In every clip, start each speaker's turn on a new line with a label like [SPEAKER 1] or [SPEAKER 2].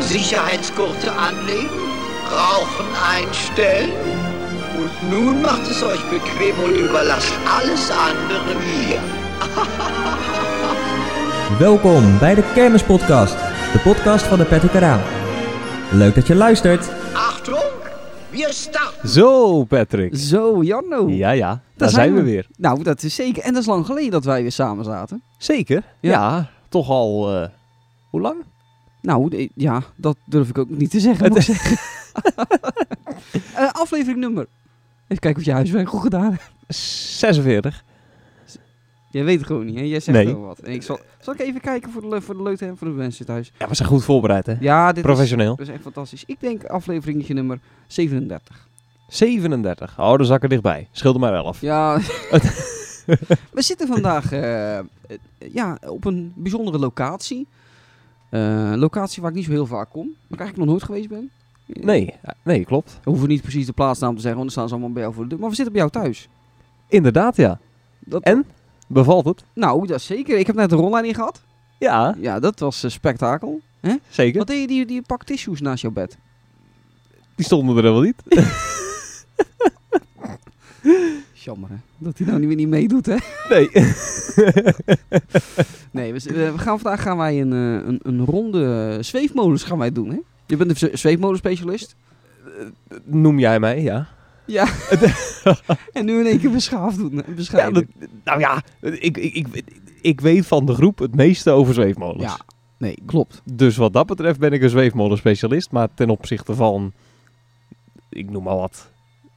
[SPEAKER 1] Sicherheitsgurte anlegen, rauchen einstellen. Und nun macht es euch bequem und überlasst alles andere mir.
[SPEAKER 2] Welkom bij de Kermispodcast, de podcast van de Patrick Raam. Leuk dat je luistert.
[SPEAKER 1] Achtung, wir starten.
[SPEAKER 3] Zo, Patrick.
[SPEAKER 4] Zo, Janno.
[SPEAKER 3] Ja, ja. Daar, Daar zijn we. we. weer.
[SPEAKER 4] Nou, dat is zeker. En dat is lang geleden dat wij weer samen zaten.
[SPEAKER 3] Zeker? Ja. ja toch al... Uh, hoe lang?
[SPEAKER 4] Nou, ja, dat durf ik ook niet te zeggen. Het zeggen. uh, aflevering nummer. Even kijken of je huiswerk goed gedaan hebt.
[SPEAKER 3] 46.
[SPEAKER 4] Jij weet het gewoon niet, hè? Jij zegt nee. wel wat. En ik zal, zal ik even kijken voor de, voor de leute en voor de mensen thuis.
[SPEAKER 3] Ja, we zijn goed voorbereid, hè?
[SPEAKER 4] Ja, dit
[SPEAKER 3] Professioneel.
[SPEAKER 4] Is, dat is echt fantastisch. Ik denk afleveringetje nummer 37.
[SPEAKER 3] 37. Oh, dan zak er dichtbij. Scheelde maar 11.
[SPEAKER 4] Ja. we zitten vandaag uh, ja, op een bijzondere locatie. Uh, locatie waar ik niet zo heel vaak kom. Waar ik eigenlijk nog nooit geweest ben.
[SPEAKER 3] Nee, nee klopt.
[SPEAKER 4] We hoeven niet precies de plaatsnaam te zeggen, want dan staan ze allemaal bij jou voor de deur. Maar we zitten bij jou thuis.
[SPEAKER 3] Inderdaad, ja. Dat... En? Bevalt het?
[SPEAKER 4] Nou, dat zeker. Ik heb net een rolleiding gehad.
[SPEAKER 3] Ja.
[SPEAKER 4] Ja, dat was een spektakel. Hè?
[SPEAKER 3] Zeker.
[SPEAKER 4] Wat deed je die, die pak tissues naast jouw bed?
[SPEAKER 3] Die stonden er wel niet.
[SPEAKER 4] Jammer hè, dat hij nou niet meer niet meedoet hè?
[SPEAKER 3] Nee.
[SPEAKER 4] nee, we, we, gaan vandaag gaan wij een, eh, een, een ronde zweefmolens gaan wij doen hè? Je bent een zweefmolenspecialist.
[SPEAKER 3] Noem jij mij, ja.
[SPEAKER 4] Ja. en nu in één keer beschaafd doen. Ja,
[SPEAKER 3] dat, nou ja, ik, ik, ik, ik weet van de groep het meeste over zweefmolens.
[SPEAKER 4] Ja, nee, klopt.
[SPEAKER 3] Dus wat dat betreft ben ik een zweefmolenspecialist. Maar ten opzichte van, ik noem maar wat,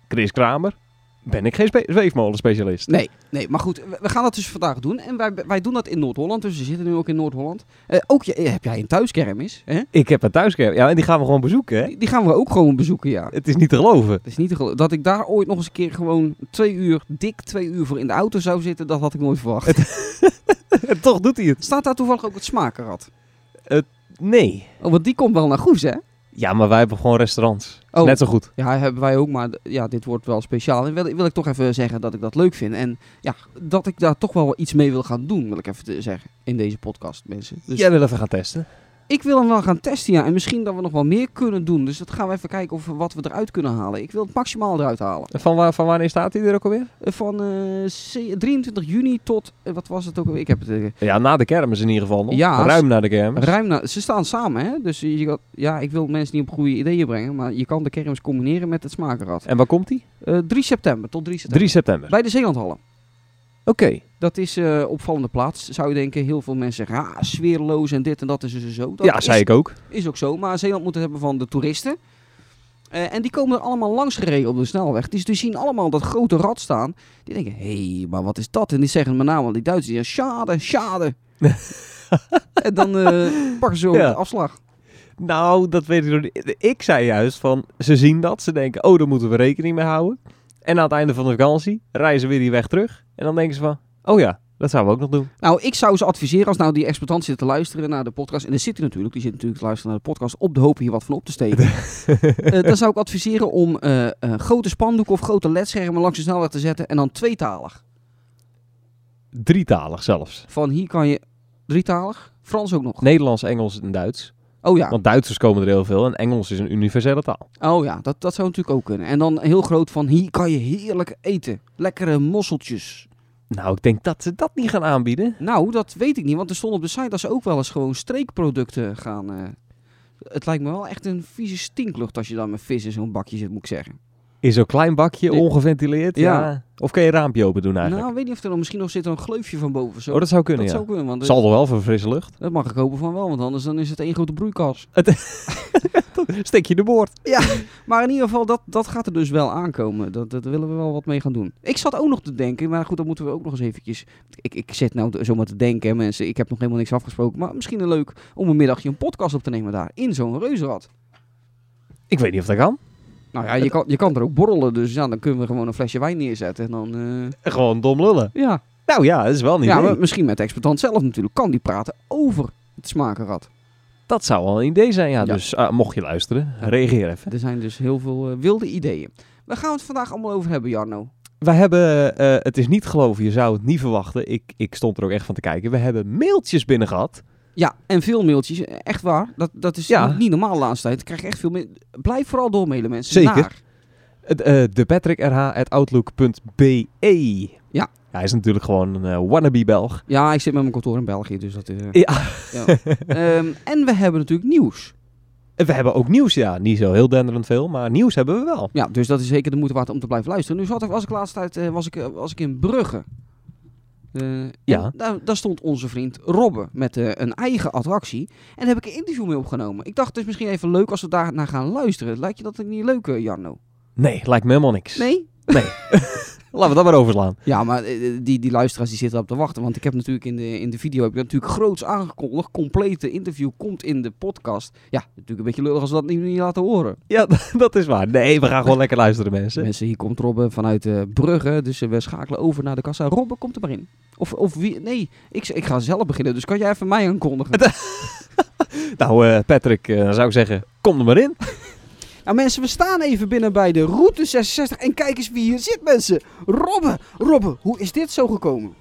[SPEAKER 3] Chris Kramer, ben ik geen zweefmolenspecialist.
[SPEAKER 4] Nee, nee, maar goed, we gaan dat dus vandaag doen. En wij, wij doen dat in Noord-Holland, dus we zitten nu ook in Noord-Holland. Uh, ook je, heb jij een thuiskermis? Hè?
[SPEAKER 3] Ik heb een thuiskermis, ja, en die gaan we gewoon bezoeken, hè?
[SPEAKER 4] Die, die, gaan we ook gewoon bezoeken, ja.
[SPEAKER 3] Het is niet te geloven.
[SPEAKER 4] Het is niet te geloven. Dat ik daar ooit nog eens een keer gewoon twee uur, dik twee uur voor in de auto zou zitten, dat had ik nooit verwacht.
[SPEAKER 3] Het, toch doet hij het.
[SPEAKER 4] Staat daar toevallig ook het smakenrad?
[SPEAKER 3] Uh, nee.
[SPEAKER 4] Oh, want die komt wel naar Goes, hè?
[SPEAKER 3] Ja, maar wij hebben gewoon restaurants. Oh, Net zo goed.
[SPEAKER 4] Ja, hebben wij ook, maar ja, dit wordt wel speciaal. En wil, wil, ik toch even zeggen dat ik dat leuk vind. En ja, dat ik daar toch wel iets mee wil gaan doen, wil ik even zeggen. In deze podcast, mensen.
[SPEAKER 3] Dus Jij wil even gaan testen?
[SPEAKER 4] Ik wil hem wel gaan testen, ja. En misschien dat we nog wel meer kunnen doen. Dus dat gaan we even kijken of we, wat we eruit kunnen halen. Ik wil het maximaal eruit halen.
[SPEAKER 3] Van, waar, van wanneer staat hij er ook alweer?
[SPEAKER 4] Van uh, 23 juni tot, uh, wat was het ook alweer? Ik heb het, uh,
[SPEAKER 3] ja, na de kermis in ieder geval nog. Ja, ruim na de kermis.
[SPEAKER 4] Ruim na, ze staan samen, hè. Dus je, ja, ik wil mensen niet op goede ideeën brengen. Maar je kan de kermis combineren met het smakenrad.
[SPEAKER 3] En waar komt die?
[SPEAKER 4] 3 september, tot 3 september.
[SPEAKER 3] 3 september.
[SPEAKER 4] Bij de Zeelandhallen.
[SPEAKER 3] Oké. Okay.
[SPEAKER 4] Dat is uh, opvallende plaats, zou je denken. Heel veel mensen zeggen, ah, sfeerloos en dit en dat is dus zo. Dat
[SPEAKER 3] ja,
[SPEAKER 4] is,
[SPEAKER 3] zei ik ook.
[SPEAKER 4] Is ook zo, maar Zeeland moet het hebben van de toeristen. Uh, en die komen er allemaal langs gereden op de snelweg. Dus die zien allemaal dat grote rad staan. Die denken, hé, hey, maar wat is dat? En die zeggen met name die Duitsers, die zeggen, schade, schade. en dan uh, pakken ze ook ja. de afslag.
[SPEAKER 3] Nou, dat weet ik nog niet. Ik zei juist van, ze zien dat. Ze denken, oh, daar moeten we rekening mee houden. En aan het einde van de vakantie rijden ze weer die weg terug. En dan denken ze van, oh ja, dat zouden we ook nog doen.
[SPEAKER 4] Nou, ik zou ze adviseren als nou die exploitant zit te luisteren naar de podcast. En daar zit hij natuurlijk, die zit natuurlijk te luisteren naar de podcast op de hoop hier wat van op te steken. uh, dan zou ik adviseren om uh, uh, grote spandoeken of grote ledschermen langs de snelweg te zetten. En dan tweetalig.
[SPEAKER 3] Drietalig zelfs.
[SPEAKER 4] Van hier kan je drietalig, Frans ook nog.
[SPEAKER 3] Nederlands, Engels en Duits.
[SPEAKER 4] Oh ja.
[SPEAKER 3] Want Duitsers komen er heel veel en Engels is een universele taal.
[SPEAKER 4] Oh ja, dat, dat zou natuurlijk ook kunnen. En dan heel groot van hier kan je heerlijk eten. Lekkere mosseltjes.
[SPEAKER 3] Nou, ik denk dat ze dat niet gaan aanbieden.
[SPEAKER 4] Nou, dat weet ik niet. Want er stond op de site dat ze ook wel eens gewoon streekproducten eh, gaan. Uh... Het lijkt me wel echt een vieze stinklucht als je dan met vis in zo'n bakje zit, moet ik zeggen.
[SPEAKER 3] In zo'n klein bakje,
[SPEAKER 4] Die-
[SPEAKER 3] ongeventileerd. Ja.
[SPEAKER 4] Ja.
[SPEAKER 3] Of kan je een raampje open doen eigenlijk?
[SPEAKER 4] Nou, weet niet of er dan misschien nog zit er een gleufje van boven. of Zo.
[SPEAKER 3] oh, dat zou kunnen,
[SPEAKER 4] Dat
[SPEAKER 3] ja.
[SPEAKER 4] zou kunnen, want
[SPEAKER 3] Zal er wel voor frisse lucht.
[SPEAKER 4] dat mag ik hopen van wel, want anders dan is het één grote broeikas.
[SPEAKER 3] Steek je de boord.
[SPEAKER 4] Maar in ieder geval, dat, dat gaat er dus wel aankomen. Dat, dat willen we wel wat mee gaan doen. Ik zat ook nog te denken, maar goed, dat moeten we ook nog eens eventjes... Ik, ik zit nou zomaar te denken, hè, mensen. Ik heb nog helemaal niks afgesproken. Maar misschien een leuk om een middagje een podcast op te nemen daar. In zo'n reuzenrad.
[SPEAKER 3] Ik weet niet of dat kan.
[SPEAKER 4] Nou ja, je kan, je kan er ook borrelen. Dus ja, dan kunnen we gewoon een flesje wijn neerzetten. En dan... eh,
[SPEAKER 3] Gewoon dom lullen.
[SPEAKER 4] ja,
[SPEAKER 3] Nou ja, dat is wel niet.
[SPEAKER 4] ja maar misschien met de exploitant zelf natuurlijk. Kan die praten over het smakenrad.
[SPEAKER 3] Dat zou wel een idee zijn, ja.
[SPEAKER 4] Ja.
[SPEAKER 3] Dus ah, mocht je luisteren, reageer even.
[SPEAKER 4] Er zijn dus heel veel eh, wilde ideeën. Waar gaan we het vandaag allemaal over hebben, Jarno?
[SPEAKER 3] Wij hebben, eh, het is niet geloven, je zou het niet verwachten. Ik, ik stond er ook echt van te kijken. We hebben mailtjes binnen gehad.
[SPEAKER 4] Ja, en veel mailtjes. Echt waar. Dat, dat is
[SPEAKER 3] Ja.
[SPEAKER 4] niet- niet normaal de laatste tijd. Ik krijg echt veel mail- Blijf vooral doormailen, mensen.
[SPEAKER 3] Zeker.
[SPEAKER 4] Naar.
[SPEAKER 3] Het, eh, De Patrick RH at outlook.be.
[SPEAKER 4] Ja.
[SPEAKER 3] E. Hij is natuurlijk gewoon een eh, wannabe Belg.
[SPEAKER 4] Ja, ik zit met mijn kantoor in België, dus dat is... eh,
[SPEAKER 3] Ja.
[SPEAKER 4] ja. Ehm, en we hebben natuurlijk nieuws.
[SPEAKER 3] En We hebben ook nieuws, ja. Niet zo heel denderend veel, maar nieuws hebben we wel.
[SPEAKER 4] Ja, dus dat is zeker de moeite waard om te blijven luisteren. Nu zat ik, was ik laatste tijd eh, was ik, eh, was ik in Brugge. Eh, en
[SPEAKER 3] Ja.
[SPEAKER 4] Daar, daar stond onze vriend Robbe met eh, een eigen attractie. En daar heb ik een interview mee opgenomen. Ik dacht, het is misschien even leuk als we daar naar gaan luisteren. Lijkt je dat niet leuk, eh, Jarno?
[SPEAKER 3] Nee, lijkt me helemaal niks.
[SPEAKER 4] Nee?
[SPEAKER 3] Laten we dat maar overslaan.
[SPEAKER 4] Ja, maar eh, eh, die, die luisteraars die zitten op te wachten. Want ik heb natuurlijk in de, in de video heb ik dat natuurlijk groots aangekondigd. Complete interview komt in de podcast. Ja, natuurlijk een beetje lullig als we dat niet, niet laten horen.
[SPEAKER 3] Ja, dat is waar. Nee, we gaan gewoon lekker luisteren, mensen.
[SPEAKER 4] Mensen, hier komt Robben vanuit eh, Brugge. Dus eh, we schakelen over naar de kassa. Robben, komt er maar in. Of, of wie? Nee, ik, z- ik ga zelf beginnen. Dus kan jij even mij aankondigen?
[SPEAKER 3] Nou, eh, Patrick, eh, dan zou ik zeggen, kom er maar in.
[SPEAKER 4] Nou mensen, we staan even binnen bij de Route 66. En kijk eens wie hier zit, mensen. Robben, Robben, hoe is dit zo gekomen?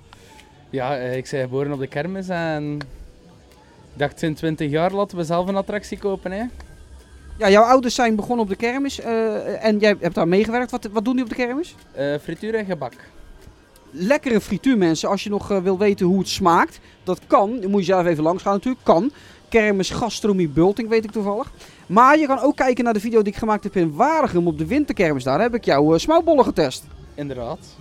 [SPEAKER 5] Ja, eh, ik ben geboren op de kermis en ik dacht sinds 20 jaar laten we zelf een attractie kopen. Hè?
[SPEAKER 4] Ja, jouw ouders zijn begonnen op de kermis. eh, en jij hebt daar meegewerkt. Wat, wat doen die op de kermis?
[SPEAKER 5] Eh, frituur en gebak.
[SPEAKER 4] lekkere frituur, mensen. Als je nog eh, wil weten hoe het smaakt, dat kan. Dan moet je zelf even langs gaan natuurlijk. Kan. Kermis Gastronomie Bulting, weet ik toevallig. Maar je kan ook kijken naar de video die ik gemaakt heb in Waregem op de winterkermis. Daar heb ik jouw eh smouwbollen getest.
[SPEAKER 5] Inderdaad.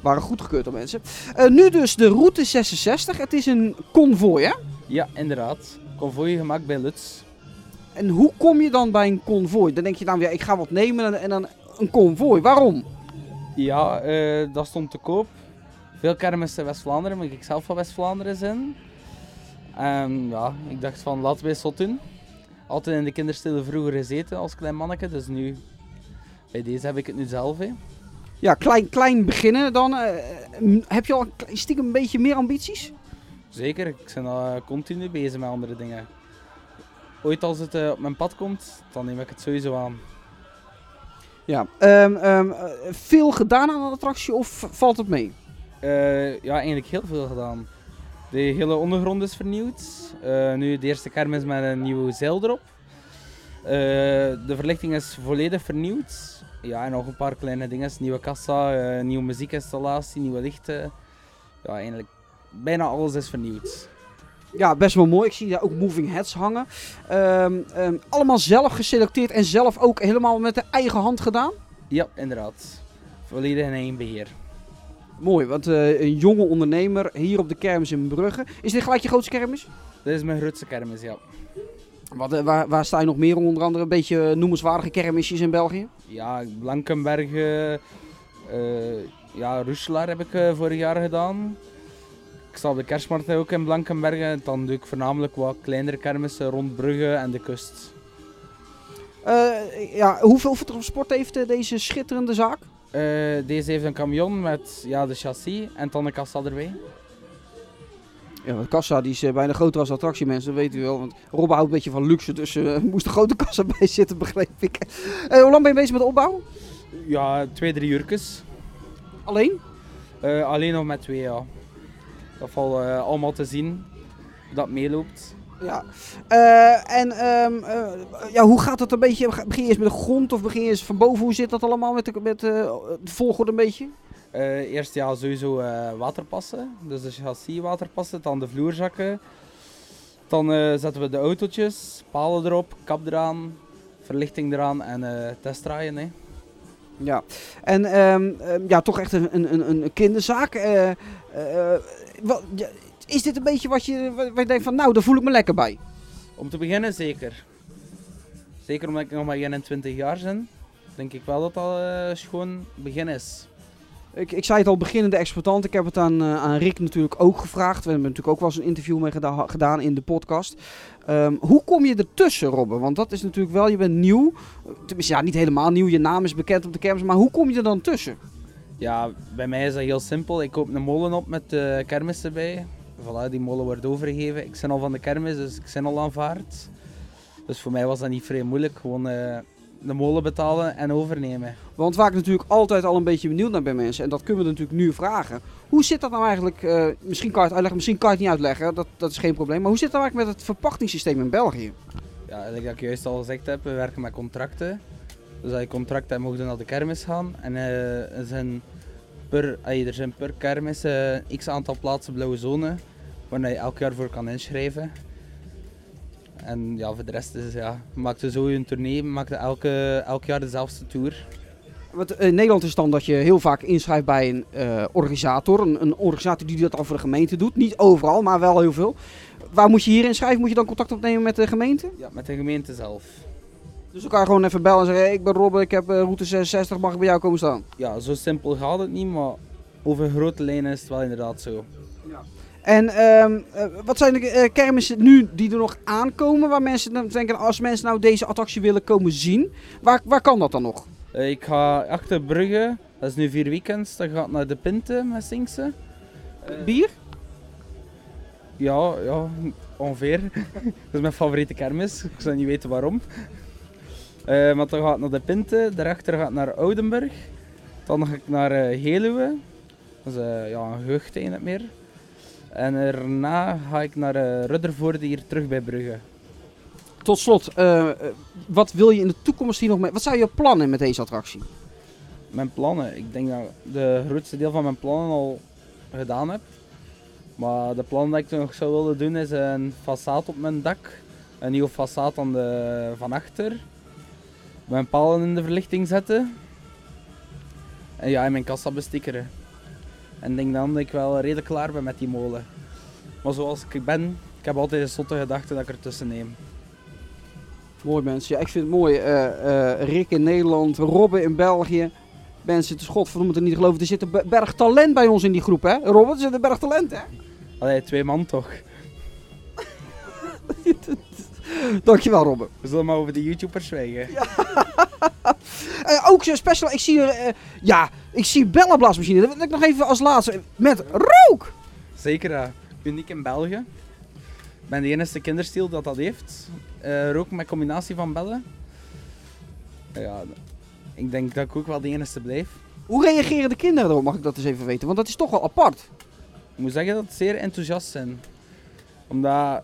[SPEAKER 4] Waren goedgekeurd door mensen. Eh, nu dus de route 66. Het is een konvooi, hè?
[SPEAKER 5] Ja, inderdaad. Convoy gemaakt bij Lutz.
[SPEAKER 4] En hoe kom je dan bij een konvooi? Dan denk je dan weer, ik ga wat nemen en, en dan een konvooi. Waarom?
[SPEAKER 5] Ja, eh, dat stond te koop. Veel kermissen in West-Vlaanderen, maar ik zelf van West-Vlaanderen zijn. En ja, ik dacht van laten we zot doen. Altijd in de kinderstille vroeger gezeten als klein manneke, dus nu bij deze heb ik het nu zelf. Hè.
[SPEAKER 4] Ja, klein, klein beginnen dan. eh, m- heb je al een kle- stiekem een beetje meer ambities?
[SPEAKER 5] Zeker, ik ben al eh, continu bezig met andere dingen. Ooit als het eh, op mijn pad komt, dan neem ik het sowieso aan.
[SPEAKER 4] Ja. Ehm, ehm, eh, veel gedaan aan de attractie of v- valt het mee?
[SPEAKER 5] Eh, ja, eigenlijk heel veel gedaan. De hele ondergrond is vernieuwd. Eh, nu de eerste kermis met een nieuwe zeil erop. Eh, de verlichting is volledig vernieuwd. Ja, en nog een paar kleine dingen. Nieuwe kassa, eh, nieuwe muziekinstallatie, nieuwe lichten. Ja, eigenlijk bijna alles is vernieuwd.
[SPEAKER 4] Ja, best wel mooi. Ik zie daar ook moving heads hangen. Ehm, ehm, allemaal zelf geselecteerd en zelf ook helemaal met de eigen hand gedaan.
[SPEAKER 5] Ja, inderdaad. Volledig in één beheer.
[SPEAKER 4] Mooi, want eh, een jonge ondernemer hier op de kermis in Brugge. Is dit gelijk je grootste kermis?
[SPEAKER 5] Dit is mijn grootste kermis, ja.
[SPEAKER 4] Wat, eh, waar, waar sta je nog meer onder andere? Een beetje eh, noemenswaardige kermisjes in België?
[SPEAKER 5] Ja, Blankenbergen, eh, ja, Roeselaar heb ik eh, vorig jaar gedaan. Ik sta op de kerstmarkt ook in Blankenbergen. Dan doe ik voornamelijk wat kleinere kermissen rond Brugge en de kust.
[SPEAKER 4] Eh, ja, hoeveel transport heeft eh, deze schitterende zaak?
[SPEAKER 5] Eh, deze heeft een camion met ja, de chassis en dan een kassa erbij.
[SPEAKER 4] Ja, want kassa die is eh, bijna groter als de attractie, mensen, dat weet u wel. Want Rob houdt een beetje van luxe, dus eh, er moest een grote kassa bij zitten, begreep ik. Eh, hoe lang ben je bezig met de opbouw?
[SPEAKER 5] Ja, twee, drie uurtjes.
[SPEAKER 4] Alleen?
[SPEAKER 5] Eh, alleen nog met twee, ja. Dat valt eh, allemaal te zien. hoe Dat meeloopt.
[SPEAKER 4] Ja. Eh, en ehm, eh, ja, hoe gaat het een beetje? Ga- Begin je eerst met de grond of begin je eerst van boven? Hoe zit dat allemaal met de, met, eh, de volgorde een beetje?
[SPEAKER 5] Eh, eerst ja, sowieso eh, waterpassen, dus de chassis waterpassen, dan de vloerzakken. Dan eh, zetten we de autootjes, palen erop, kap eraan, verlichting eraan en eh testdraaien. Hè.
[SPEAKER 4] Ja, en ehm, ehm, ja, toch echt een, een, een- een kinderzaak. Eh, eh, wat, ja, is dit een beetje wat je, wat, wat je denkt van, nou, daar voel ik me lekker bij?
[SPEAKER 5] Om te beginnen zeker. Zeker omdat ik nog maar 21 jaar ben, denk ik wel dat dat eh schoon begin is.
[SPEAKER 4] Ik, ik zei het al, beginnende exploitant. Ik heb het aan, eh, aan Rick natuurlijk ook gevraagd. We hebben natuurlijk ook wel eens een interview mee geda- gedaan in de podcast. Ehm, hoe kom je ertussen, Robben? Want dat is natuurlijk wel, je bent nieuw. Tenminste, ja, niet helemaal nieuw. Je naam is bekend op de kermis. Maar hoe kom je er dan tussen?
[SPEAKER 5] Ja, bij mij is dat heel simpel. Ik koop een molen op met de kermis erbij. Voilà, die molen wordt overgegeven. Ik ben al van de kermis, dus ik ben al aanvaard. Dus voor mij was dat niet vrij moeilijk. Gewoon eh, de molen betalen en overnemen.
[SPEAKER 4] Want waar ik natuurlijk altijd al een beetje benieuwd naar ben mensen, en dat kunnen we natuurlijk nu vragen. Hoe zit dat nou eigenlijk, eh, misschien kan je het uitleggen, misschien kan je het niet uitleggen, dat, dat is geen probleem. Maar hoe zit dat eigenlijk met het verpachtingssysteem in België?
[SPEAKER 5] Ja, eigenlijk dat ik juist al gezegd heb, we werken met contracten. Dus als je contract hebt, mogen naar de kermis gaan. En eh, er, zijn per, ay, er zijn per kermis eh, x aantal plaatsen blauwe zone, waar je elk jaar voor kan inschrijven. En ja, voor de rest is ja, maakte zo een tournee, maakte elke, elk jaar dezelfde tour.
[SPEAKER 4] Want eh, in Nederland is het dan dat je heel vaak inschrijft bij een eh, organisator, een, een organisator die dat dan voor de gemeente doet. Niet overal, maar wel heel veel. Waar moet je hier inschrijven? Moet je dan contact opnemen met de gemeente?
[SPEAKER 5] Ja, met de gemeente zelf.
[SPEAKER 4] Dus dan kan je gewoon even bellen en zeggen, hey, ik ben Robben, ik heb eh, route 66, mag ik bij jou komen staan?
[SPEAKER 5] Ja, zo simpel gaat het niet, maar over grote lijnen is het wel inderdaad zo.
[SPEAKER 4] En ehm, eh, wat zijn de eh, kermissen nu die er nog aankomen? Waar mensen dan denken, als mensen nou deze attractie willen komen zien, waar, waar kan dat dan nog?
[SPEAKER 5] Eh, ik ga achter Brugge, dat is nu vier weekends, dan gaat naar de Pinte met Sinkse.
[SPEAKER 4] Bier?
[SPEAKER 5] Ja, ja, ongeveer. dat is mijn favoriete kermis. Ik zou niet weten waarom. Eh, maar dan gaat het naar de Pinte, daarachter gaat het naar Oudenburg. Dan ga ik naar eh Heluwe. Dat is eh, ja, een gehucht in het meer. En daarna ga ik naar eh Ruddervoorde hier terug bij Brugge.
[SPEAKER 4] Tot slot, eh, eh, wat wil je in de toekomst hier nog mee? Wat zijn je plannen met deze attractie?
[SPEAKER 5] Mijn plannen, ik denk dat ik de grootste deel van mijn plannen al gedaan heb. Maar de plannen die ik toen nog zou willen doen is een façade op mijn dak. Een nieuwe façade aan de, van achter. Mijn palen in de verlichting zetten. En ja, en mijn kassa bestikkeren. En ik denk dan dat ik wel redelijk klaar ben met die molen. Maar zoals ik ben, ik heb altijd een zotte gedachte dat ik ertussen neem.
[SPEAKER 4] Mooi mensen, ja, ik vind het mooi. Eh, eh, Rick in Nederland, Robben in België. Mensen, het is godverdomme te niet geloven. Er zit een be- berg talent bij ons in die groep, hè? Robben, er zit een berg talent, hè?
[SPEAKER 5] Allee, twee man toch.
[SPEAKER 4] Dankjewel, Robben.
[SPEAKER 5] We zullen maar over de YouTubers zwijgen.
[SPEAKER 4] Eh, ook zo'n special, ik zie, eh, ja, ik zie bellenblaasmachine. Dat wil ik nog even als laatste. Met rook!
[SPEAKER 5] Zeker, eh, uniek in België. Ik ben de enige kinderstiel dat dat heeft. Eh rook met combinatie van bellen. Ja, ik denk dat ik ook wel de enige blijf.
[SPEAKER 4] Hoe reageren de kinderen erop, mag ik dat eens even weten? Want dat is toch wel apart.
[SPEAKER 5] Ik moet zeggen dat ze zeer enthousiast zijn. Omdat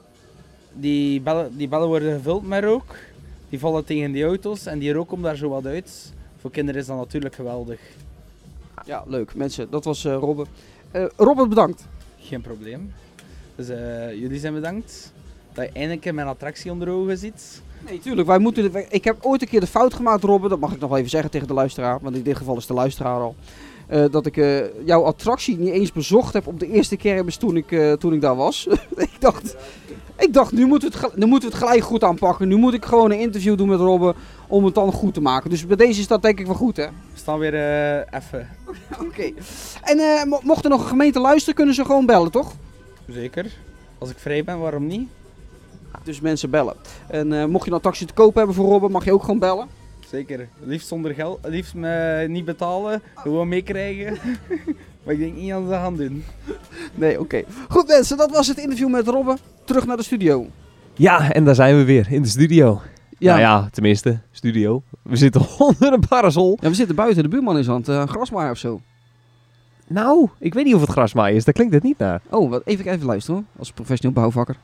[SPEAKER 5] die bellen, die bellen worden gevuld met rook. Die vallen tegen die auto's en die rook komt daar zo wat uit. Voor kinderen is dat natuurlijk geweldig.
[SPEAKER 4] Ja, leuk. Mensen, dat was eh Robben. Eh, Robert, bedankt.
[SPEAKER 5] Geen probleem. Dus eh, jullie zijn bedankt dat je eindelijk een mijn attractie onder ogen ziet.
[SPEAKER 4] Nee, tuurlijk. Wij moeten, wij- ik heb ooit een keer de fout gemaakt, Robben. Dat mag ik nog wel even zeggen tegen de luisteraar. Want in dit geval is de luisteraar al. eh, dat ik eh, jouw attractie niet eens bezocht heb op de eerste kermis toen ik, eh, toen ik daar was. ik dacht, ik dacht nu, moeten we het, gel- nu moeten we het gelijk goed aanpakken. Nu moet ik gewoon een interview doen met Robben om het dan goed te maken. Dus bij deze is dat denk ik wel goed, hè?
[SPEAKER 5] We staan weer eh, even.
[SPEAKER 4] Oké. En eh, mo- mocht er nog een gemeente luisteren, kunnen ze gewoon bellen, toch?
[SPEAKER 5] Zeker. Als ik vrij ben, waarom niet?
[SPEAKER 4] Dus mensen bellen. En eh, mocht je een attractie te koop hebben voor Robben, mag je ook gewoon bellen.
[SPEAKER 5] Zeker. Liefst zonder geld, liefst me niet betalen, gewoon meekrijgen. maar ik denk niet aan de hand doen.
[SPEAKER 4] Nee, oké. Goed mensen, dat was het interview met Robben. Terug naar de studio.
[SPEAKER 3] Ja, en daar zijn we weer in de studio.
[SPEAKER 4] Ja.
[SPEAKER 3] Ja, nou ja tenminste, studio. We zitten onder een parasol.
[SPEAKER 4] Ja, we zitten buiten. De buurman is aan het uh, grasmaaier of zo.
[SPEAKER 3] Nou, ik weet niet of het grasmaai is. Daar klinkt het niet naar.
[SPEAKER 4] Oh, wat, even, even luisteren hoor. Als professioneel bouwvakker.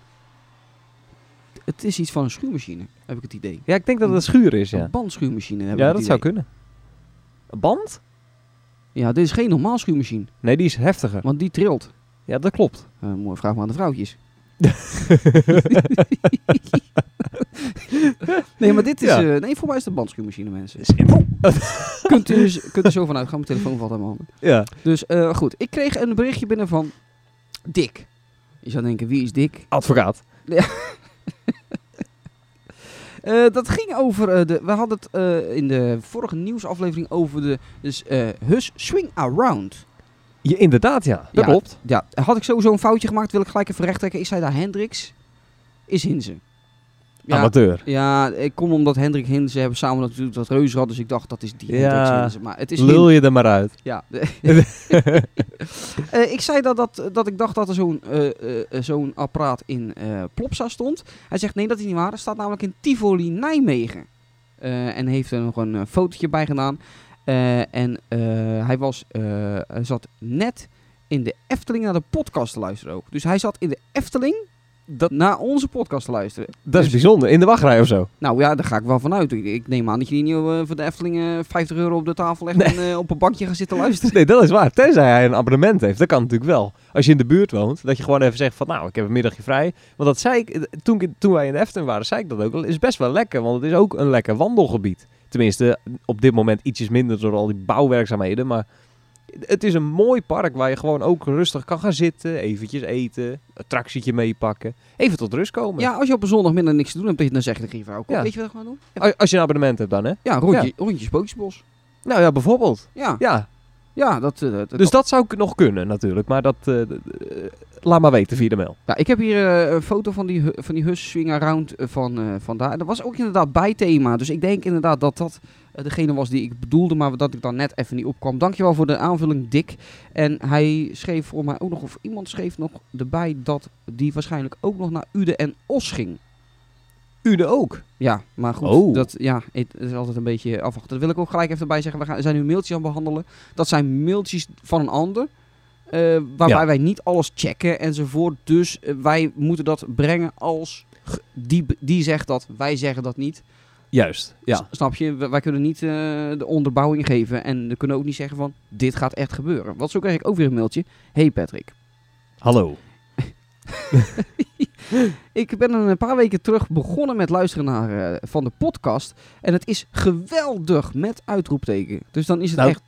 [SPEAKER 4] Het is iets van een schuurmachine, heb ik het idee.
[SPEAKER 3] Ja, ik denk dat het een schuur is, ja.
[SPEAKER 4] Een bandschuurmachine heb
[SPEAKER 3] Ja,
[SPEAKER 4] ik
[SPEAKER 3] dat
[SPEAKER 4] het
[SPEAKER 3] zou
[SPEAKER 4] idee.
[SPEAKER 3] kunnen. Een band?
[SPEAKER 4] Ja, dit is geen normaal schuurmachine,
[SPEAKER 3] Nee, die is heftiger.
[SPEAKER 4] want die trilt.
[SPEAKER 3] Ja, dat klopt.
[SPEAKER 4] Eh mooi, vraag maar aan de vrouwtjes. Nee, maar dit is...
[SPEAKER 3] Ja.
[SPEAKER 4] eh, nee, voor mij is de bandschuurmachine, mensen. kunt, u, dus- kunt u zo vanuit gaan. Mijn telefoon valt aan mijn handen.
[SPEAKER 3] Ja.
[SPEAKER 4] Dus eh, goed, ik kreeg een berichtje binnen van Dick. Je zou denken, wie is Dick?
[SPEAKER 3] Advocaat.
[SPEAKER 4] Eh, dat ging over eh, de. We hadden het eh, in de vorige nieuwsaflevering over de dus, eh, Hus Swing Around.
[SPEAKER 3] Ja, inderdaad, ja. Dat
[SPEAKER 4] Ja.
[SPEAKER 3] klopt.
[SPEAKER 4] Ja, had ik sowieso een foutje gemaakt, wil ik gelijk even rechttrekken. Is hij daar Hendricks? Is Hinze. Ja,
[SPEAKER 3] Amateur.
[SPEAKER 4] ja, ik kom omdat Hendrik Hinze hebben samen natuurlijk dat reuzenrad, dus ik dacht dat is die
[SPEAKER 3] Ja.
[SPEAKER 4] Hendricks Hinze. Maar het is
[SPEAKER 3] Lul
[SPEAKER 4] Hin-
[SPEAKER 3] je er maar uit.
[SPEAKER 4] Ja. Eh, ik zei dat, dat, dat ik dacht dat er zo'n eh, eh, eh, zo'n apparaat in eh, Plopsa stond. Hij zegt nee, dat is niet waar. Het staat namelijk in Tivoli, Nijmegen. Eh, en heeft er nog een eh, fotootje bij gedaan. Eh, en eh, hij, was, eh, hij zat net in de Efteling naar de podcast te luisteren ook. Dus hij zat in de Efteling
[SPEAKER 3] Dat-
[SPEAKER 4] naar onze podcast te luisteren.
[SPEAKER 3] Dat is bijzonder. In de wachtrij of zo.
[SPEAKER 4] Nou ja, daar ga ik wel van uit. Ik, ik neem aan dat je niet eh, voor de Efteling eh, 50 euro op de tafel legt en eh, op een bankje gaat zitten luisteren.
[SPEAKER 3] Nee, dat is waar. Tenzij hij een abonnement heeft. Dat kan natuurlijk wel. Als je in de buurt woont, dat je gewoon even zegt van... Nou, ik heb een middagje vrij. Want dat zei ik... eh, Toen, ik- toen wij in de Efteling waren, zei ik dat ook. al. is best wel lekker, want het is ook een lekker wandelgebied. Tenminste, op dit moment ietsjes minder door al die bouwwerkzaamheden. Maar het is een mooi park waar je gewoon ook rustig kan gaan zitten. Eventjes eten. Een tractietje meepakken. Even tot rust komen.
[SPEAKER 4] Ja, als je op een zondagmiddag niks te doen hebt, dat je dan zegt tegen je vrouw, kom,
[SPEAKER 3] Ja.
[SPEAKER 4] weet je wat ik ga doen?
[SPEAKER 3] Als- Als je een abonnement hebt dan, hè?
[SPEAKER 4] Ja, rondje, rondje Spookjesbos.
[SPEAKER 3] Nou ja, bijvoorbeeld.
[SPEAKER 4] Ja,
[SPEAKER 3] Ja,
[SPEAKER 4] ja dat, eh, dat,
[SPEAKER 3] Dus dat zou ik nog kunnen natuurlijk, maar dat eh, d- eh, laat maar weten via de mail.
[SPEAKER 4] Ja, ik heb hier eh, een foto van die, hu- van die Hus Swing Around eh, van, eh, van daar. Dat was ook inderdaad bijthema. Dus ik denk inderdaad dat dat eh, degene was die ik bedoelde, maar dat ik dan net even niet opkwam. Dankjewel voor de aanvulling, Dick. En hij schreef voor mij ook nog, of iemand schreef nog erbij, dat die waarschijnlijk ook nog naar Ude en Os ging.
[SPEAKER 3] Ude ook.
[SPEAKER 4] Ja, maar goed,
[SPEAKER 3] Oh.
[SPEAKER 4] dat ja, het is altijd een beetje afwachten. Dat wil ik ook gelijk even erbij zeggen. We gaan, zijn nu mailtjes aan het behandelen. Dat zijn mailtjes van een ander. eh, waarbij
[SPEAKER 3] Ja.
[SPEAKER 4] wij niet alles checken enzovoort. Dus eh, wij moeten dat brengen als g- die, b- die zegt dat, wij zeggen dat niet.
[SPEAKER 3] Juist,
[SPEAKER 4] S-
[SPEAKER 3] ja.
[SPEAKER 4] Snap je? W- wij kunnen niet eh, de onderbouwing geven. En we kunnen ook niet zeggen van, dit gaat echt gebeuren. Want zo krijg ik ook weer een mailtje. Hey Patrick,
[SPEAKER 3] Hallo.
[SPEAKER 4] Ik ben een paar weken terug begonnen met luisteren naar eh, van de podcast. En het is geweldig met uitroepteken. Dus dan is het
[SPEAKER 3] Nou,
[SPEAKER 4] echt,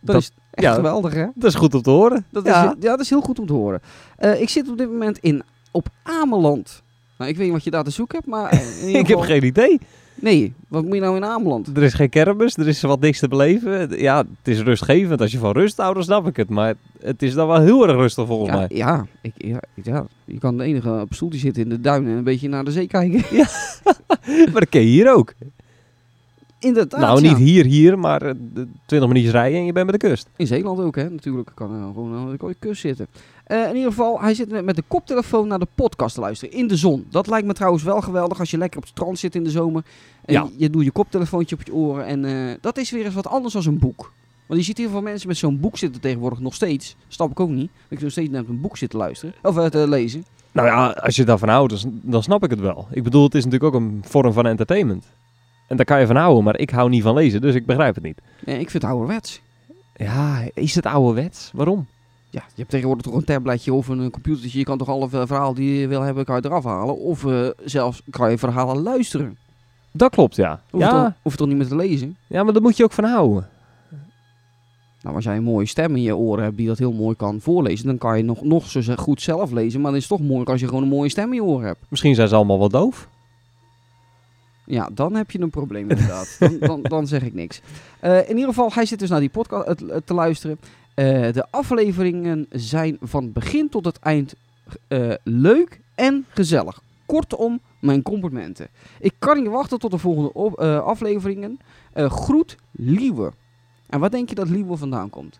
[SPEAKER 4] dat
[SPEAKER 3] dat-
[SPEAKER 4] is echt
[SPEAKER 3] ja.
[SPEAKER 4] geweldig, hè?
[SPEAKER 3] Dat is goed om te horen.
[SPEAKER 4] Dat,
[SPEAKER 3] Ja.
[SPEAKER 4] Is, ja, dat is heel goed om te horen. Eh, ik zit op dit moment in, op Ameland. Nou, ik weet niet wat je daar te zoeken hebt, maar... eh, in ieder
[SPEAKER 3] Ik heb
[SPEAKER 4] geval-
[SPEAKER 3] geen idee.
[SPEAKER 4] Nee, wat moet je nou in Ameland?
[SPEAKER 3] Er is geen kermis, er is wat niks te beleven. Ja, het is rustgevend. Als je van rust houdt, dan snap ik het. Maar het is dan wel heel erg rustig volgens
[SPEAKER 4] Ja,
[SPEAKER 3] mij.
[SPEAKER 4] ja, ik, ja, ja, je kan de enige op stoel die zitten in de duinen en een beetje naar de zee kijken.
[SPEAKER 3] Maar dat ken je hier ook.
[SPEAKER 4] Inderdaad,
[SPEAKER 3] nou,
[SPEAKER 4] ja.
[SPEAKER 3] niet hier, hier, maar eh, d- 20 minuutjes rijden en je bent bij de kust.
[SPEAKER 4] In Zeeland ook, hè? Natuurlijk kan er gewoon aan de kooie kus zitten. Eh, in ieder geval, hij zit met met de koptelefoon naar de podcast te luisteren. In de zon. Dat lijkt me trouwens wel geweldig als je lekker op het strand zit in de zomer. En
[SPEAKER 3] Ja.
[SPEAKER 4] je doet je koptelefoontje op je oren. En eh, dat is weer eens wat anders dan een boek. Want je ziet heel veel mensen met zo'n boek zitten tegenwoordig nog steeds. Snap ik ook niet. Ik nog steeds naar een boek zitten luisteren. Of eh, te lezen.
[SPEAKER 3] Nou ja, als je daarvan houdt, dan s- dan snap ik het wel. Ik bedoel, het is natuurlijk ook een vorm van entertainment. En daar kan je van houden, maar ik hou niet van lezen, dus ik begrijp het niet.
[SPEAKER 4] Nee, Eh, ik vind het ouderwets.
[SPEAKER 3] Ja, is het ouderwets? Waarom?
[SPEAKER 4] Ja, je hebt tegenwoordig toch een tabletje of een eh, computertje. Je kan toch alle eh, verhalen die je wil hebben, kan je eraf halen. Of eh, zelfs kan je verhalen luisteren.
[SPEAKER 3] Dat klopt, ja.
[SPEAKER 4] Hoef je toch-
[SPEAKER 3] Ja,
[SPEAKER 4] hoef je toch niet meer te lezen?
[SPEAKER 3] ja, maar daar moet je ook van houden.
[SPEAKER 4] Nou, als jij een mooie stem in je oren hebt die dat heel mooi kan voorlezen, dan kan je nog, nog zo ze- goed zelf lezen. Maar dan is het toch moeilijk als je gewoon een mooie stem in je oren hebt.
[SPEAKER 3] Misschien zijn ze allemaal wel doof.
[SPEAKER 4] Ja, dan heb je een probleem inderdaad. Dan, dan, dan zeg ik niks. Eh, in ieder geval, hij zit dus naar die podcast eh, te- te luisteren. Eh, de afleveringen zijn van het begin tot het eind eh, leuk en gezellig. Kortom, mijn complimenten. Ik kan niet wachten tot de volgende op- eh, afleveringen. Eh, groet Liewe. En wat denk je dat Liewe vandaan komt?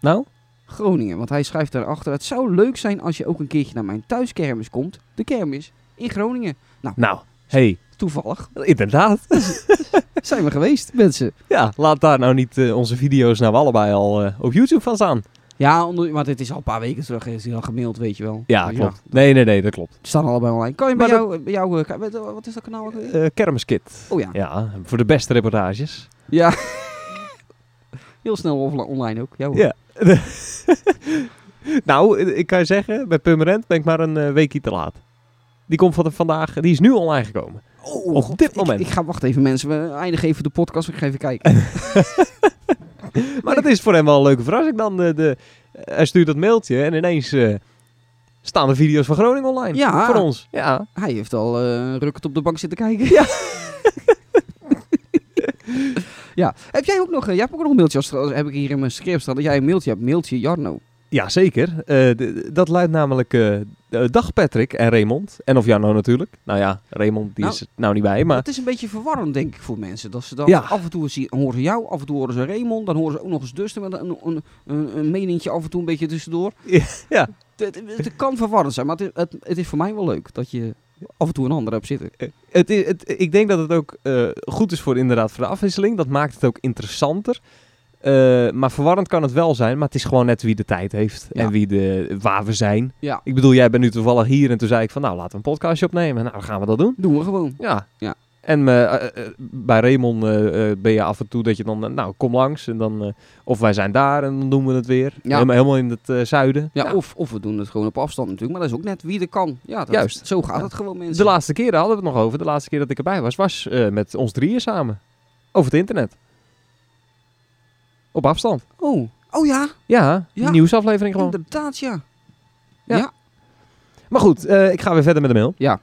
[SPEAKER 3] Nou,
[SPEAKER 4] Groningen. Want hij schrijft daarachter: Het zou leuk zijn als je ook een keertje naar mijn thuiskermis komt. De kermis in Groningen.
[SPEAKER 3] nou, hé,
[SPEAKER 4] Toevallig
[SPEAKER 3] hey, inderdaad.
[SPEAKER 4] zijn we geweest, mensen.
[SPEAKER 3] Ja, laat daar nou niet eh, onze video's nou allebei al eh, op YouTube van staan.
[SPEAKER 4] Ja, onder- maar dit is al een paar weken terug. Is hij al gemaild, weet je wel.
[SPEAKER 3] Ja,
[SPEAKER 4] Dus
[SPEAKER 3] klopt. Nee, nee, nee, dat klopt.
[SPEAKER 4] die staan allebei online. Kan je bij
[SPEAKER 3] Maar
[SPEAKER 4] jou, bij jou eh, ka- weet- wat is dat kanaal? ook alweer?
[SPEAKER 3] Eh Kermiskit.
[SPEAKER 4] oh ja. ja.
[SPEAKER 3] Ja, voor de beste reportages.
[SPEAKER 4] Heel snel offla- online ook. Ja, hoor.
[SPEAKER 3] Ja. nou, eh, ik kan je zeggen, bij Pummerend ben ik maar een eh, weekje te laat. Die komt van vandaag, die is nu online gekomen.
[SPEAKER 4] Oh,
[SPEAKER 3] Op
[SPEAKER 4] god,
[SPEAKER 3] dit
[SPEAKER 4] ik-
[SPEAKER 3] moment.
[SPEAKER 4] Ik, ga wachten even, mensen. We eindigen even de podcast. Ik ga even kijken.
[SPEAKER 3] Maar dat is voor hem wel een leuke verrassing dan. De, de, eh, hij stuurt dat mailtje en ineens eh, staan de video's van Groningen online.
[SPEAKER 4] Ja.
[SPEAKER 3] Voor ons. Ja.
[SPEAKER 4] Hij heeft al eh rukkend op de bank zitten kijken.
[SPEAKER 3] Ja.
[SPEAKER 4] ja. Heb jij ook nog, eh, jij hebt ook nog een mailtje, als, als- heb ik hier in mijn script staan, dat jij een mailtje hebt. Mailtje Jarno.
[SPEAKER 3] Ja, zeker. Eh, d- dat luidt namelijk... eh, eh, dag Patrick en Raymond. En of Jarno natuurlijk. Nou ja, Raymond die
[SPEAKER 4] Nou,
[SPEAKER 3] is er nou niet bij, maar...
[SPEAKER 4] Dat is een beetje verwarrend, denk ik, voor mensen. Dat ze dan
[SPEAKER 3] Ja.
[SPEAKER 4] af en toe zien, horen ze jou, af en toe horen ze Raymond, dan horen ze ook nog eens Dustin met een, een, een, een meningje af en toe een beetje tussendoor.
[SPEAKER 3] Ja, ja.
[SPEAKER 4] Het, het- het kan verwarrend zijn, maar het, is- het, het is voor mij wel leuk dat je af en toe een ander hebt zitten.
[SPEAKER 3] Het
[SPEAKER 4] eh,
[SPEAKER 3] is, het, ik denk dat het ook eh, goed is voor inderdaad voor de afwisseling. Dat maakt het ook interessanter. Eh, maar verwarrend kan het wel zijn. Maar het is gewoon net wie de tijd heeft.
[SPEAKER 4] Ja.
[SPEAKER 3] En wie de, waar we zijn.
[SPEAKER 4] Ja.
[SPEAKER 3] Ik bedoel, jij bent nu toevallig hier. En toen zei ik van, nou laten we een podcastje opnemen. Nou, gaan we dat doen.
[SPEAKER 4] Doen we gewoon.
[SPEAKER 3] Ja.
[SPEAKER 4] Ja.
[SPEAKER 3] En eh, eh, eh, bij Raymond eh, eh, ben je af en toe dat je dan, eh, nou kom langs. En dan, eh, of wij zijn daar en dan doen we het weer.
[SPEAKER 4] Ja.
[SPEAKER 3] Helemaal, helemaal in het eh, zuiden.
[SPEAKER 4] Ja,
[SPEAKER 3] Nou,
[SPEAKER 4] Of, of we doen het gewoon op afstand natuurlijk, maar dat is ook net wie er kan. Ja, dat,
[SPEAKER 3] Juist.
[SPEAKER 4] Zo gaat
[SPEAKER 3] Ja.
[SPEAKER 4] het gewoon, mensen.
[SPEAKER 3] de laatste keer, daar hadden we het nog over. De laatste keer dat ik erbij was, was eh, met ons drieën samen. Over het internet. Op afstand.
[SPEAKER 4] Oh, oh ja,
[SPEAKER 3] Ja,
[SPEAKER 4] Ja.
[SPEAKER 3] die nieuwsaflevering gewoon.
[SPEAKER 4] inderdaad ja.
[SPEAKER 3] Maar goed, eh, ik ga weer verder met de mail.
[SPEAKER 4] Ja.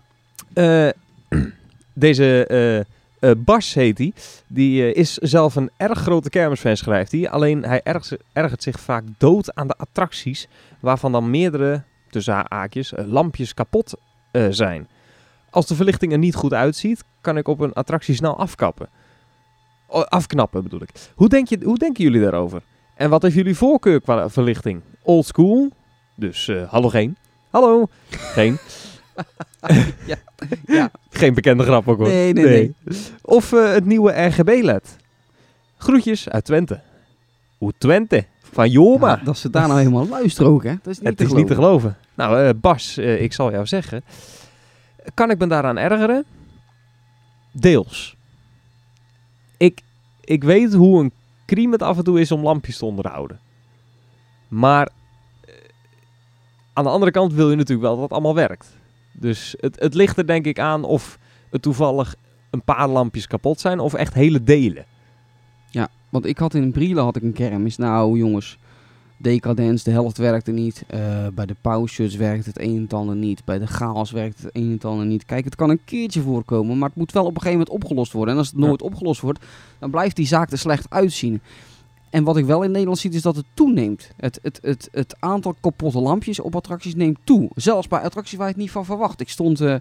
[SPEAKER 3] Eh, deze eh, eh, Bas heet die. Die eh, is zelf een erg grote kermisfan, schrijft hij. Alleen hij erg- ergert zich vaak dood aan de attracties... waarvan dan meerdere, tussen ha- haakjes, eh, lampjes kapot eh, zijn. Als de verlichting er niet goed uitziet... kan ik op een attractie snel afkappen. O, afknappen bedoel ik. Hoe, denk je, hoe denken jullie daarover? En wat heeft jullie voorkeur qua verlichting? Old school, dus eh halogeen. Hallo, geen.
[SPEAKER 4] Ja, ja.
[SPEAKER 3] Geen bekende grap ook hoor.
[SPEAKER 4] Nee, nee, nee.
[SPEAKER 3] Of eh, het nieuwe RGB-led. Groetjes uit Twente. Hoe Twente? Van Joma.
[SPEAKER 4] Ja, dat ze daar nou helemaal luisteren ook, hè. Dat is niet
[SPEAKER 3] het
[SPEAKER 4] te
[SPEAKER 3] is niet te
[SPEAKER 4] geloven.
[SPEAKER 3] geloven. Nou, eh, Bas, eh, ik zal jou zeggen. Kan ik me daaraan ergeren? Deels. Ik, ik weet hoe een crime het af en toe is om lampjes te onderhouden. Maar eh, aan de andere kant wil je natuurlijk wel dat het allemaal werkt. Dus het, het ligt er denk ik aan of het toevallig een paar lampjes kapot zijn of echt hele delen.
[SPEAKER 4] Want ik had in Brielen had ik een kermis. Nou, jongens. Decadence, de helft werkte niet. Eh, bij de pauzes werkt het een en het ander niet. Bij de chaos werkt het een en het ander niet. Kijk, het kan een keertje voorkomen, maar het moet wel op een gegeven moment opgelost worden. En als het
[SPEAKER 3] Ja.
[SPEAKER 4] nooit opgelost wordt, dan blijft die zaak er slecht uitzien. En wat ik wel in Nederland zie, is dat het toeneemt. Het, het, het, het aantal kapotte lampjes op attracties neemt toe. Zelfs bij attracties waar je het niet van verwacht. Ik stond, eh,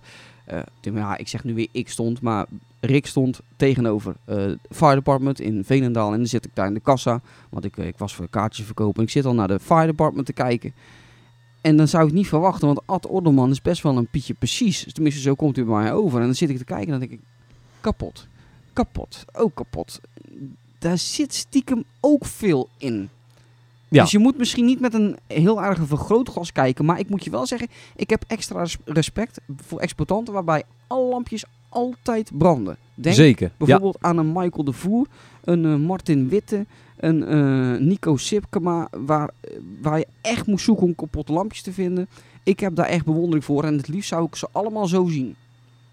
[SPEAKER 4] eh, Tim, ja, ik zeg nu weer ik stond, maar Rick stond tegenover het Fire Department in Veenendaal. En dan zit ik daar in de kassa, want ik, eh, ik was voor kaartjes verkopen. Ik zit al naar de Fire Department te kijken. En dan zou ik niet verwachten, want Ad Orderman is best wel een pietje precies. Tenminste, zo komt hij bij mij over. En dan zit ik te kijken en dan denk ik, kapot, kapot, ook kapot. Daar zit stiekem ook veel in.
[SPEAKER 3] Ja.
[SPEAKER 4] Dus je moet misschien niet met een heel aardige vergrootglas kijken. Maar ik moet je wel zeggen, ik heb extra res- respect voor exploitanten waarbij alle lampjes altijd branden. Denk
[SPEAKER 3] Zeker. Ja.
[SPEAKER 4] Bijvoorbeeld aan een Michael de Voer, een eh, Martin Witte, een eh, Nico Sipkema, waar, eh, waar je echt moest zoeken om kapotte lampjes te vinden. Ik heb daar echt bewondering voor en het liefst zou ik ze allemaal zo zien.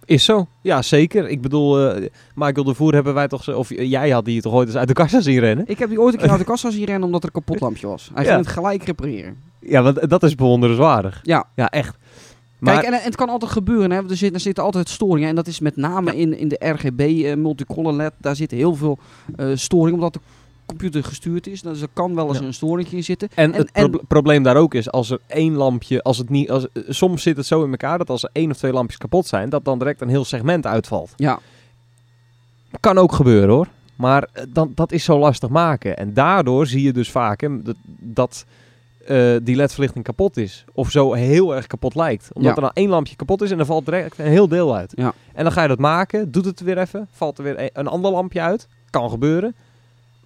[SPEAKER 3] Is zo. Ja, zeker. Ik bedoel, eh, Michael de Voer hebben wij toch... zo- Of eh, jij had die toch ooit eens uit de kassa zien rennen?
[SPEAKER 4] Ik heb die ooit een keer uit de kassa zien rennen omdat er een kapot lampje was. Hij
[SPEAKER 3] Ja.
[SPEAKER 4] ging het gelijk repareren.
[SPEAKER 3] Ja, want eh, dat is bewonderenswaardig.
[SPEAKER 4] Ja.
[SPEAKER 3] Ja, eh, echt. Maar,
[SPEAKER 4] Kijk, en, en het kan altijd gebeuren. Hè? want Er, zit, er zitten altijd storingen. En dat is met name in, in de RGB, eh, multicolor LED. Daar zit heel veel eh storing, omdat de computer gestuurd is. Dus er kan wel eens
[SPEAKER 3] Ja.
[SPEAKER 4] een storing in zitten.
[SPEAKER 3] en,
[SPEAKER 4] en-
[SPEAKER 3] het
[SPEAKER 4] en-
[SPEAKER 3] proble- probleem daar ook is, als er één lampje... Als het niet, als, eh, soms zit het zo in elkaar dat als er één of twee lampjes kapot zijn... dat dan direct een heel segment uitvalt.
[SPEAKER 4] Ja,
[SPEAKER 3] Kan ook gebeuren, hoor. Maar eh, dan, dat is zo lastig maken. En daardoor zie je dus vaak hè, dat, dat eh, die ledverlichting kapot is. Of zo heel erg kapot lijkt. Omdat
[SPEAKER 4] Ja.
[SPEAKER 3] er dan één lampje kapot is en er valt direct een heel deel uit.
[SPEAKER 4] Ja.
[SPEAKER 3] En dan ga je dat maken, doet het weer even, valt er weer e- een ander lampje uit. Kan gebeuren.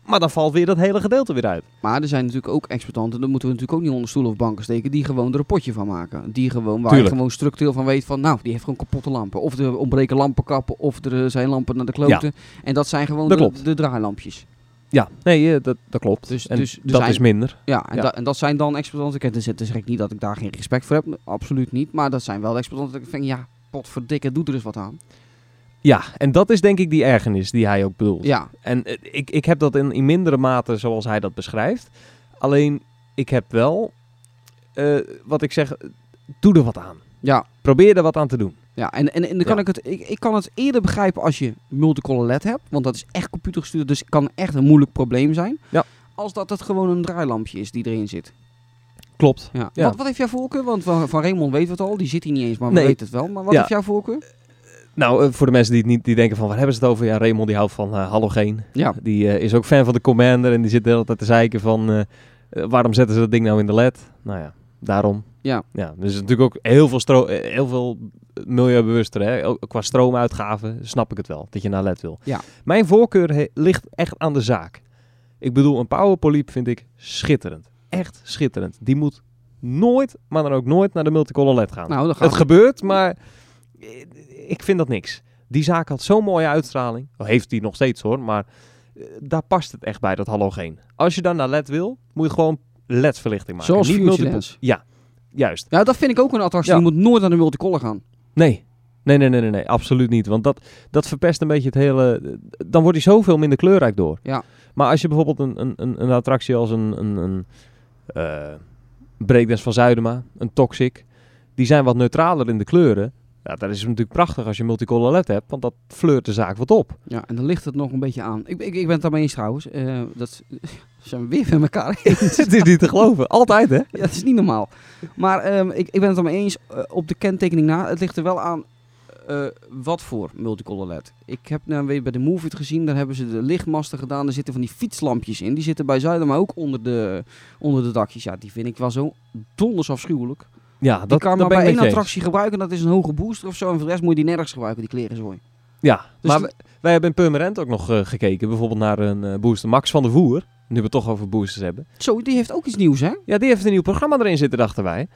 [SPEAKER 3] Maar dan valt weer dat hele gedeelte weer uit.
[SPEAKER 4] Maar er zijn natuurlijk ook exploitanten, dat moeten we natuurlijk ook niet onder stoelen of banken steken, die gewoon er een potje van maken. Die gewoon, waar je
[SPEAKER 3] Tuurlijk.
[SPEAKER 4] gewoon structureel van weet van, nou, die heeft gewoon kapotte lampen. Of er ontbreken lampenkappen, of er eh, zijn lampen naar de kloten. En dat zijn gewoon
[SPEAKER 3] Dat
[SPEAKER 4] de,
[SPEAKER 3] klopt.
[SPEAKER 4] de draailampjes.
[SPEAKER 3] Ja, nee, eh, dat, dat klopt.
[SPEAKER 4] Dus-
[SPEAKER 3] en
[SPEAKER 4] dus- dus
[SPEAKER 3] dat
[SPEAKER 4] hij-
[SPEAKER 3] is minder.
[SPEAKER 4] Ja, en,
[SPEAKER 3] Ja.
[SPEAKER 4] da- en dat zijn dan exploitanten. Kijk, dus het is echt niet dat ik daar geen respect voor heb, absoluut niet. Maar dat zijn wel exploitanten dat ik denk, ja, potverdikke, doet er eens wat aan.
[SPEAKER 3] Ja, en dat is denk ik die ergernis die hij ook bedoelt.
[SPEAKER 4] Ja,
[SPEAKER 3] En eh, ik, ik heb dat in, in mindere mate zoals hij dat beschrijft. Alleen, ik heb wel, eh, wat ik zeg, doe er wat aan.
[SPEAKER 4] ja,
[SPEAKER 3] Probeer er wat aan te doen.
[SPEAKER 4] ja. En, en, en dan kan
[SPEAKER 3] Ja.
[SPEAKER 4] ik het, ik, ik kan het eerder begrijpen als je multicolor LED hebt, want dat is echt computergestuurd, dus het kan echt een moeilijk probleem zijn.
[SPEAKER 3] Ja.
[SPEAKER 4] Als dat het gewoon een draailampje is die erin zit.
[SPEAKER 3] Klopt.
[SPEAKER 4] Ja.
[SPEAKER 3] Ja.
[SPEAKER 4] Wat, wat heeft jouw voorkeur? Want van, van Raymond weet het al, die zit hier niet eens, maar
[SPEAKER 3] Nee.
[SPEAKER 4] weet het wel. Maar wat
[SPEAKER 3] Ja.
[SPEAKER 4] heeft jouw voorkeur?
[SPEAKER 3] Nou, eh, voor de mensen die het niet die denken van waar hebben ze het over? Ja, Raymond die houdt van eh, halogeen.
[SPEAKER 4] Ja,
[SPEAKER 3] Die eh, is ook fan van de Commander en die zit de hele tijd te zeiken van... eh, eh, waarom zetten ze dat ding nou in de LED? Nou ja, daarom.
[SPEAKER 4] Ja.
[SPEAKER 3] ja dus het is natuurlijk ook heel veel, stro eh, heel veel milieubewuster. Hè? Ook qua stroomuitgaven snap ik het wel, dat je naar LED wil.
[SPEAKER 4] Ja.
[SPEAKER 3] Mijn voorkeur he- ligt echt aan de zaak. Ik bedoel, een powerpoliep vind ik schitterend. Echt schitterend. Die moet nooit, maar dan ook nooit, naar de multicolor LED gaan.
[SPEAKER 4] nou, dan gaan
[SPEAKER 3] Het
[SPEAKER 4] we-
[SPEAKER 3] gebeurt, maar eh, ik vind dat niks. Die zaak had zo'n mooie uitstraling. Wel, Heeft die nog steeds hoor, maar eh, daar past het echt bij, dat halogeen. Als je dan naar LED wil, moet je gewoon LED-verlichting maken.
[SPEAKER 4] Zoals Future
[SPEAKER 3] multiple-
[SPEAKER 4] Lens.
[SPEAKER 3] Ja, juist.
[SPEAKER 4] Ja, dat vind ik ook een attractie.
[SPEAKER 3] Ja.
[SPEAKER 4] Je moet nooit aan de multicolor gaan.
[SPEAKER 3] Nee. Nee, nee, nee, nee, nee, absoluut niet. Want dat, dat verpest een beetje het hele... Dan wordt hij zoveel minder kleurrijk door.
[SPEAKER 4] Ja.
[SPEAKER 3] Maar als je bijvoorbeeld een, een, een, een attractie als een, een, een eh, Breakdance van Zuidema, een Toxic... Die zijn wat neutraler in de kleuren. Ja, dat is het natuurlijk prachtig als je multicolor LED hebt. Want dat fleurt de zaak wat op.
[SPEAKER 4] Ja, en dan ligt het nog een beetje aan. Ik, ik, ik ben het daarmee eens trouwens. Eh, dat zijn we weer met elkaar eens.
[SPEAKER 3] het is niet te geloven. Altijd, hè?
[SPEAKER 4] Ja, dat is niet normaal. Maar ehm, ik, ik ben het ermee eens eh, op de kentekening na. Het ligt er wel aan eh, wat voor multicolor LED. Ik heb nou weer bij de movie het gezien. Daar hebben ze de lichtmasten gedaan. Daar zitten van die fietslampjes in. Die zitten bij Zuiden, maar ook onder de, onder de dakjes. Ja, die vind ik wel zo donders afschuwelijk.
[SPEAKER 3] Ja, dat,
[SPEAKER 4] Dat, kan
[SPEAKER 3] dat
[SPEAKER 4] maar
[SPEAKER 3] ben
[SPEAKER 4] bij
[SPEAKER 3] ik met
[SPEAKER 4] één
[SPEAKER 3] je eens.
[SPEAKER 4] attractie gebruiken. Dat is een hoge booster of zo. En voor de rest moet je die nergens gebruiken, die klerenzooi.
[SPEAKER 3] Ja,
[SPEAKER 4] Dus
[SPEAKER 3] maar
[SPEAKER 4] de-
[SPEAKER 3] wij- wij hebben in Purmerend ook nog eh, gekeken. Bijvoorbeeld naar een eh, booster Max van der Voer. Nu we het toch over boosters hebben.
[SPEAKER 4] Zo, die heeft ook iets nieuws, hè?
[SPEAKER 3] Ja, die heeft een nieuw programma erin zitten, dachten wij.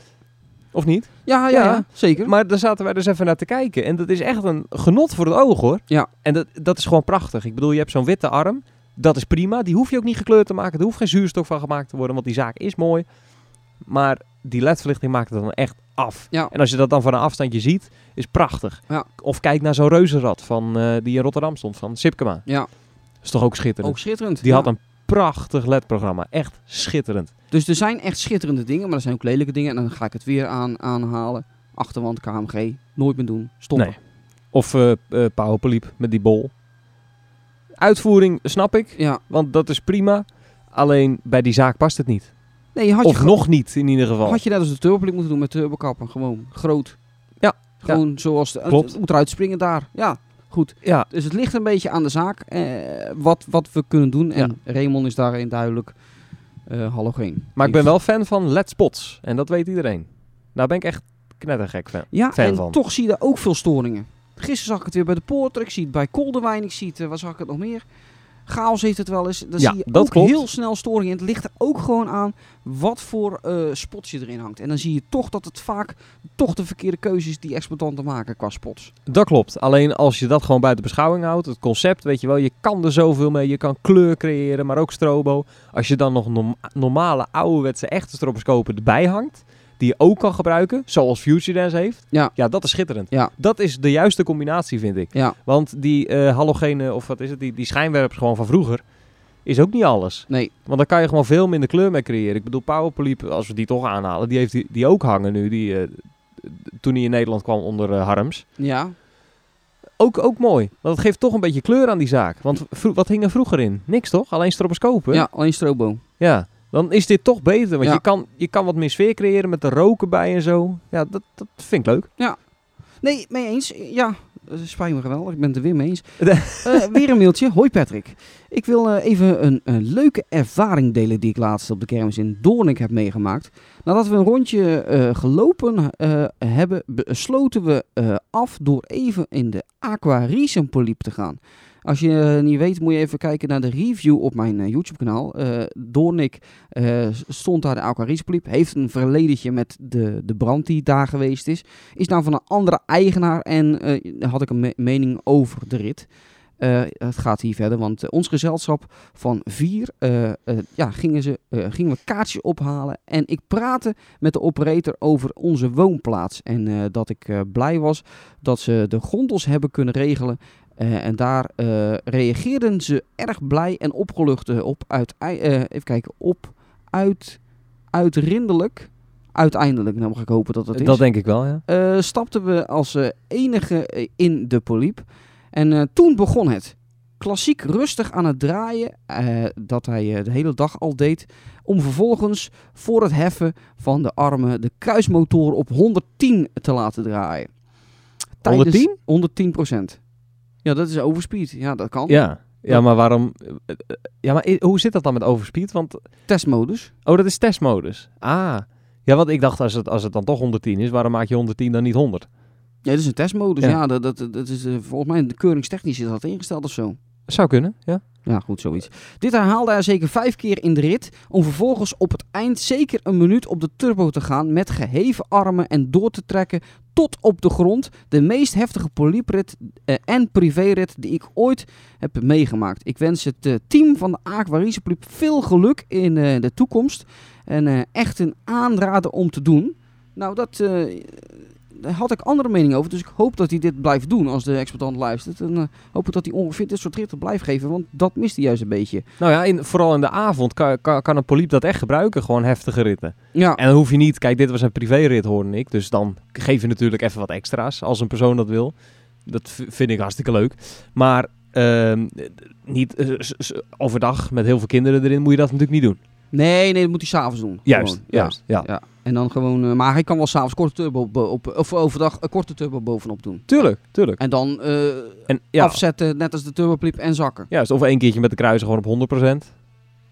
[SPEAKER 3] Of niet?
[SPEAKER 4] Ja, ja,
[SPEAKER 3] Ja.
[SPEAKER 4] ja, zeker.
[SPEAKER 3] Maar daar zaten wij dus even naar te kijken. En dat is echt een genot voor het oog, hoor.
[SPEAKER 4] Ja.
[SPEAKER 3] En dat, dat is gewoon prachtig. Ik bedoel, je hebt zo'n witte arm. Dat is prima. Die hoef je ook niet gekleurd te maken. Er hoeft geen zuurstof van gemaakt te worden, want die zaak is mooi. Maar die ledverlichting maakt het dan echt af.
[SPEAKER 4] Ja.
[SPEAKER 3] En als je dat dan van een afstandje ziet, is prachtig.
[SPEAKER 4] Ja.
[SPEAKER 3] Of kijk naar zo'n reuzenrad van, eh, die in Rotterdam stond, van Sipkema.
[SPEAKER 4] Ja.
[SPEAKER 3] is toch ook schitterend?
[SPEAKER 4] Ook schitterend.
[SPEAKER 3] Die had
[SPEAKER 4] ja.
[SPEAKER 3] een prachtig LED-programma. Echt schitterend.
[SPEAKER 4] Dus er zijn echt schitterende dingen, maar er zijn ook lelijke dingen. En dan ga ik het weer aan, aanhalen. Achterwand, KMG, nooit meer doen. Stoppen.
[SPEAKER 3] Nee. Of eh eh, Powerpoliep met die bol. Uitvoering snap ik,
[SPEAKER 4] Ja.
[SPEAKER 3] want dat is prima. Alleen bij die zaak past het niet.
[SPEAKER 4] Nee, je had je,
[SPEAKER 3] Of
[SPEAKER 4] ge-
[SPEAKER 3] nog niet in ieder geval.
[SPEAKER 4] had je net als de turboplink moeten doen met turbokappen. Gewoon groot.
[SPEAKER 3] Ja,
[SPEAKER 4] Gewoon zoals... De,
[SPEAKER 3] Klopt.
[SPEAKER 4] Het moet eruit springen daar. Ja, goed.
[SPEAKER 3] Ja,
[SPEAKER 4] Dus het ligt een beetje aan de zaak eh, wat, wat we kunnen doen. En Raymond is daarin duidelijk eh halogeen.
[SPEAKER 3] maar ik ben wel fan van LED spots. En dat weet iedereen. Daar ben ik echt knettergek van.
[SPEAKER 4] Ja,
[SPEAKER 3] fan
[SPEAKER 4] en
[SPEAKER 3] van.
[SPEAKER 4] toch zie je daar ook veel storingen. Gisteren zag ik het weer bij de Poorter, ik zie het bij Koldewijn, ik zie het, eh, waar zag ik het nog meer? Chaos heeft het wel eens. Dan
[SPEAKER 3] Ja,
[SPEAKER 4] zie je
[SPEAKER 3] dat
[SPEAKER 4] ook
[SPEAKER 3] klopt.
[SPEAKER 4] heel snel storingen. En het ligt er ook gewoon aan wat voor eh spots je erin hangt. En dan zie je toch dat het vaak toch de verkeerde keuzes die exploitanten maken qua spots.
[SPEAKER 3] Dat klopt. Alleen als je dat gewoon buiten beschouwing houdt, het concept, weet je wel, je kan er zoveel mee. Je kan kleur creëren, maar ook strobo. Als je dan nog norm- normale, ouderwetse, echte stroboscopen erbij hangt, die je ook kan gebruiken, zoals Future Dance heeft.
[SPEAKER 4] Ja.
[SPEAKER 3] ja dat is schitterend.
[SPEAKER 4] Ja.
[SPEAKER 3] Dat is de juiste combinatie, vind ik.
[SPEAKER 4] Ja.
[SPEAKER 3] Want die eh halogene, of wat is het, die, die schijnwerpers gewoon van vroeger, is ook niet alles.
[SPEAKER 4] Nee,
[SPEAKER 3] Want dan kan je gewoon veel minder kleur mee creëren. Ik bedoel, Powerpoliep, als we die toch aanhalen, die heeft die, die ook hangen nu. Die, eh, toen hij in Nederland kwam onder eh, Harms.
[SPEAKER 4] ja.
[SPEAKER 3] Ook, ook mooi. Want het geeft toch een beetje kleur aan die zaak. Want vro- wat hing er vroeger in? Niks toch? Alleen stroboscopen?
[SPEAKER 4] Ja, alleen strobo.
[SPEAKER 3] Ja. Dan is dit toch beter. Want
[SPEAKER 4] Ja.
[SPEAKER 3] je, kan, je kan wat meer sfeer creëren met de roken bij en zo. Ja, dat, dat vind ik leuk.
[SPEAKER 4] Nee, mee eens. Ja, eh, spijt me geweldig. Ik ben het er weer mee eens. Eh, weer een mailtje. Hoi Patrick. Ik wil eh, even een, een leuke ervaring delen die ik laatst op de kermis in Doornik heb meegemaakt. Nadat we een rondje eh, gelopen eh, hebben, besloten we eh, af door even in de Aquarisempoliep te gaan. Als je eh, niet weet, moet je even kijken naar de review op mijn eh, YouTube-kanaal. Eh Doornik eh, stond daar de Aquarisempoliep. Heeft een verledentje met de, de brand die daar geweest is is nou van een andere eigenaar en eh, daar had ik een me- mening over de rit. Eh, eh, het gaat hier verder, want eh, ons gezelschap van vier eh, eh, ja, gingen, ze, eh, gingen we kaartjes ophalen. En ik praatte met de operator over onze woonplaats. En eh, dat ik eh, blij was dat ze de gondels hebben kunnen regelen. Eh, en daar eh, reageerden ze erg blij en opgelucht eh, op. Uit, eh, even kijken, op, uit, uitrindelijk. Uiteindelijk, nou mag ik hopen dat dat is.
[SPEAKER 3] Dat denk ik wel, ja.
[SPEAKER 4] Eh, stapten we als eh, enige eh, in de poliep. En eh, toen begon het. Klassiek rustig aan het draaien, eh, dat hij eh, de hele dag al deed. Om vervolgens voor het heffen van de armen de kruismotor op 110 te laten draaien.
[SPEAKER 3] 110?
[SPEAKER 4] 110 procent. Ja, dat is overspeed. Ja, dat kan.
[SPEAKER 3] Ja, ja maar waarom... eh, eh, Ja, maar i- hoe zit dat dan met overspeed? Want,
[SPEAKER 4] Testmodus.
[SPEAKER 3] oh, dat is testmodus. Ah, ja, want ik dacht, als het, als het dan toch 110 is, waarom maak je 110 dan niet 100?
[SPEAKER 4] Ja, dat is een testmodus.
[SPEAKER 3] Ja.
[SPEAKER 4] Ja, dat, dat, dat is eh, volgens mij keuringstechnisch is dat ingesteld of zo.
[SPEAKER 3] Zou kunnen, ja.
[SPEAKER 4] Ja, goed, zoiets. Dit herhaalde hij zeker vijf keer in de rit, om vervolgens op het eind zeker een minuut op de turbo te gaan met geheven armen en door te trekken tot op de grond. De meest heftige polieprit eh, en privérit die ik ooit heb meegemaakt. Ik wens het eh, team van de Aquarische Poliep veel geluk in eh, de toekomst. En eh, echt een aanrader om te doen. Nou, dat... eh, daar had ik andere mening over, dus ik hoop dat hij dit blijft doen als de exploitant luistert. En, eh, hoop ik dat hij ongeveer dit soort ritten blijft geven, want dat mist hij juist een beetje.
[SPEAKER 3] Nou ja, in, vooral in de avond kan, kan, kan een poliep dat echt gebruiken, gewoon heftige ritten.
[SPEAKER 4] Ja,
[SPEAKER 3] Ah. En dan hoef je niet, kijk, dit was een privérit, hoorde ik. Dus dan geef je natuurlijk even wat extra's, als een persoon dat wil. Dat v- vind ik hartstikke leuk. Maar ehm, eh, niet eh, s- s- overdag met heel veel kinderen erin moet je dat natuurlijk niet doen.
[SPEAKER 4] nee, nee, dat moet hij s'avonds doen.
[SPEAKER 3] Juist,
[SPEAKER 4] Gewoon, ja.
[SPEAKER 3] juist, ja.
[SPEAKER 4] Ja. En dan gewoon, eh, maar hij kan wel s'avonds korte turbo bo- op, of overdag een korte turbo bovenop doen.
[SPEAKER 3] Tuurlijk, tuurlijk.
[SPEAKER 4] En dan eh,
[SPEAKER 3] En, ja,
[SPEAKER 4] afzetten, net als de turbopliep, en zakken.
[SPEAKER 3] juist, of één keertje met de kruisen gewoon op 100%.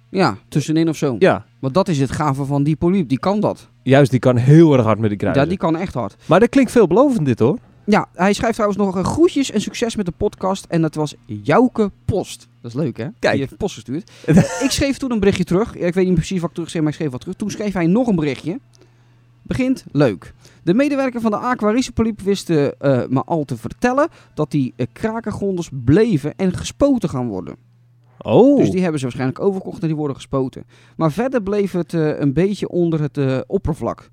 [SPEAKER 4] Ja, tussenin of zo.
[SPEAKER 3] Ja,
[SPEAKER 4] Want dat is het gave van die poliep, die kan dat.
[SPEAKER 3] juist, die kan heel erg hard met die kruisen.
[SPEAKER 4] Ja, die kan echt hard.
[SPEAKER 3] Maar dat klinkt veelbelovend dit hoor.
[SPEAKER 4] Ja, hij schrijft trouwens nog eh, groetjes en succes met de podcast. En dat was Jouke Post. Dat is leuk, hè?
[SPEAKER 3] Kijk.
[SPEAKER 4] Die heeft post gestuurd. ik schreef toen een berichtje terug. Ja, ik weet niet precies wat ik terug schreef, maar ik schreef wat terug. Toen schreef hij nog een berichtje. Begint leuk. De medewerker van de Aquarische Poliep wist eh, eh, me al te vertellen dat die eh, krakengondels bleven en gespoten gaan worden.
[SPEAKER 3] Oh,
[SPEAKER 4] Dus die hebben ze waarschijnlijk overkocht en die worden gespoten. Maar verder bleef het eh, een beetje onder het eh, oppervlak.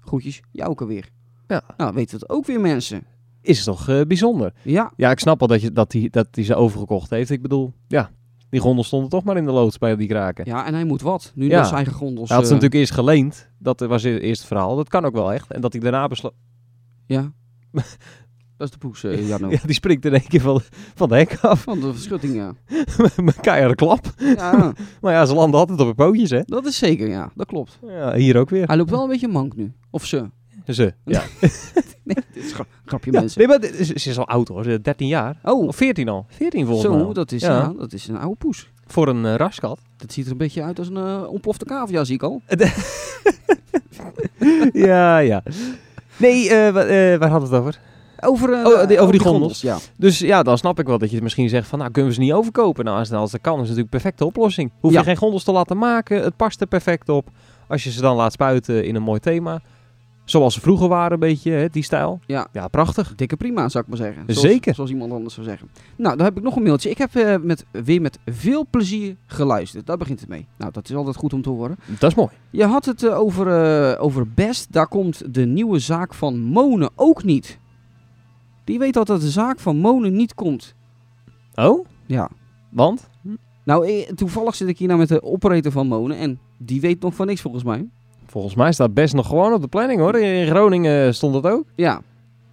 [SPEAKER 4] Groetjes, Jouke weer.
[SPEAKER 3] Ja.
[SPEAKER 4] Nou, weten dat ook weer mensen.
[SPEAKER 3] is toch eh, bijzonder.
[SPEAKER 4] Ja,
[SPEAKER 3] Ja, ik snap wel dat hij dat die, dat die ze overgekocht heeft. Ik bedoel, ja, die gondel stonden toch maar in de loods bij die kraken.
[SPEAKER 4] Ja, en hij moet wat. Nu
[SPEAKER 3] Ja.
[SPEAKER 4] dat zijn eigen grondels.
[SPEAKER 3] hij had ze
[SPEAKER 4] eh,
[SPEAKER 3] natuurlijk eerst geleend. Dat was e- het eerste verhaal. Dat kan ook wel echt. En dat hij daarna besloot...
[SPEAKER 4] Ja. dat is de poes, eh, Jarno.
[SPEAKER 3] Ja, die springt in één keer van, van de hek af.
[SPEAKER 4] Van de schutting, ja.
[SPEAKER 3] Met een keiharde klap.
[SPEAKER 4] ja.
[SPEAKER 3] Maar ja, ze landen altijd op hun pootjes, hè.
[SPEAKER 4] Dat is zeker, ja. Dat klopt.
[SPEAKER 3] Ja, hier ook weer.
[SPEAKER 4] Hij loopt wel een beetje mank nu. Of ze.
[SPEAKER 3] Ze, ja.
[SPEAKER 4] Nee, dit is gra- grapje,
[SPEAKER 3] ja
[SPEAKER 4] mensen.
[SPEAKER 3] nee, maar dit is- ze is al oud, hoor. Ze is 13 jaar.
[SPEAKER 4] Oh,
[SPEAKER 3] Of 14 al. 14 volgens mij
[SPEAKER 4] zo,
[SPEAKER 3] al.
[SPEAKER 4] dat is,
[SPEAKER 3] Ja.
[SPEAKER 4] ja. dat is een oude poes.
[SPEAKER 3] Voor een eh, raskat.
[SPEAKER 4] Dat ziet er een beetje uit als een eh, ontplofte cavia, zie ik al.
[SPEAKER 3] ja, ja. Nee, eh, wa- eh, waar hadden we het over?
[SPEAKER 4] Over, eh,
[SPEAKER 3] Oh, die- over die
[SPEAKER 4] gondels,
[SPEAKER 3] gondels.
[SPEAKER 4] ja.
[SPEAKER 3] Dus ja, dan snap ik wel dat je misschien zegt van, nou kunnen we ze niet overkopen? Nou, als, als dat kan, is het natuurlijk een perfecte oplossing. Hoef
[SPEAKER 4] Ja.
[SPEAKER 3] je geen gondels te laten maken, het past er perfect op. Als je ze dan laat spuiten in een mooi thema, zoals ze vroeger waren, een beetje, hè, die stijl.
[SPEAKER 4] Ja.
[SPEAKER 3] Ja, prachtig.
[SPEAKER 4] Dikke prima, zou ik maar zeggen. Zoals-
[SPEAKER 3] Zeker.
[SPEAKER 4] Zoals iemand anders zou zeggen. Nou, dan heb ik nog een mailtje. Ik heb eh, met, weer met veel plezier geluisterd. Daar begint het mee. Nou, dat is altijd goed om te horen.
[SPEAKER 3] Dat is mooi.
[SPEAKER 4] Je had het eh, over, eh, over Best. Daar komt de nieuwe zaak van Monen ook niet. Die weet dat de zaak van Monen niet komt.
[SPEAKER 3] Oh,
[SPEAKER 4] Ja.
[SPEAKER 3] want?
[SPEAKER 4] Nou, eh, toevallig zit ik hier nou met de operator van Monen. En die weet nog van niks volgens mij.
[SPEAKER 3] Volgens mij staat best nog gewoon op de planning hoor. In Groningen stond dat ook.
[SPEAKER 4] Ja.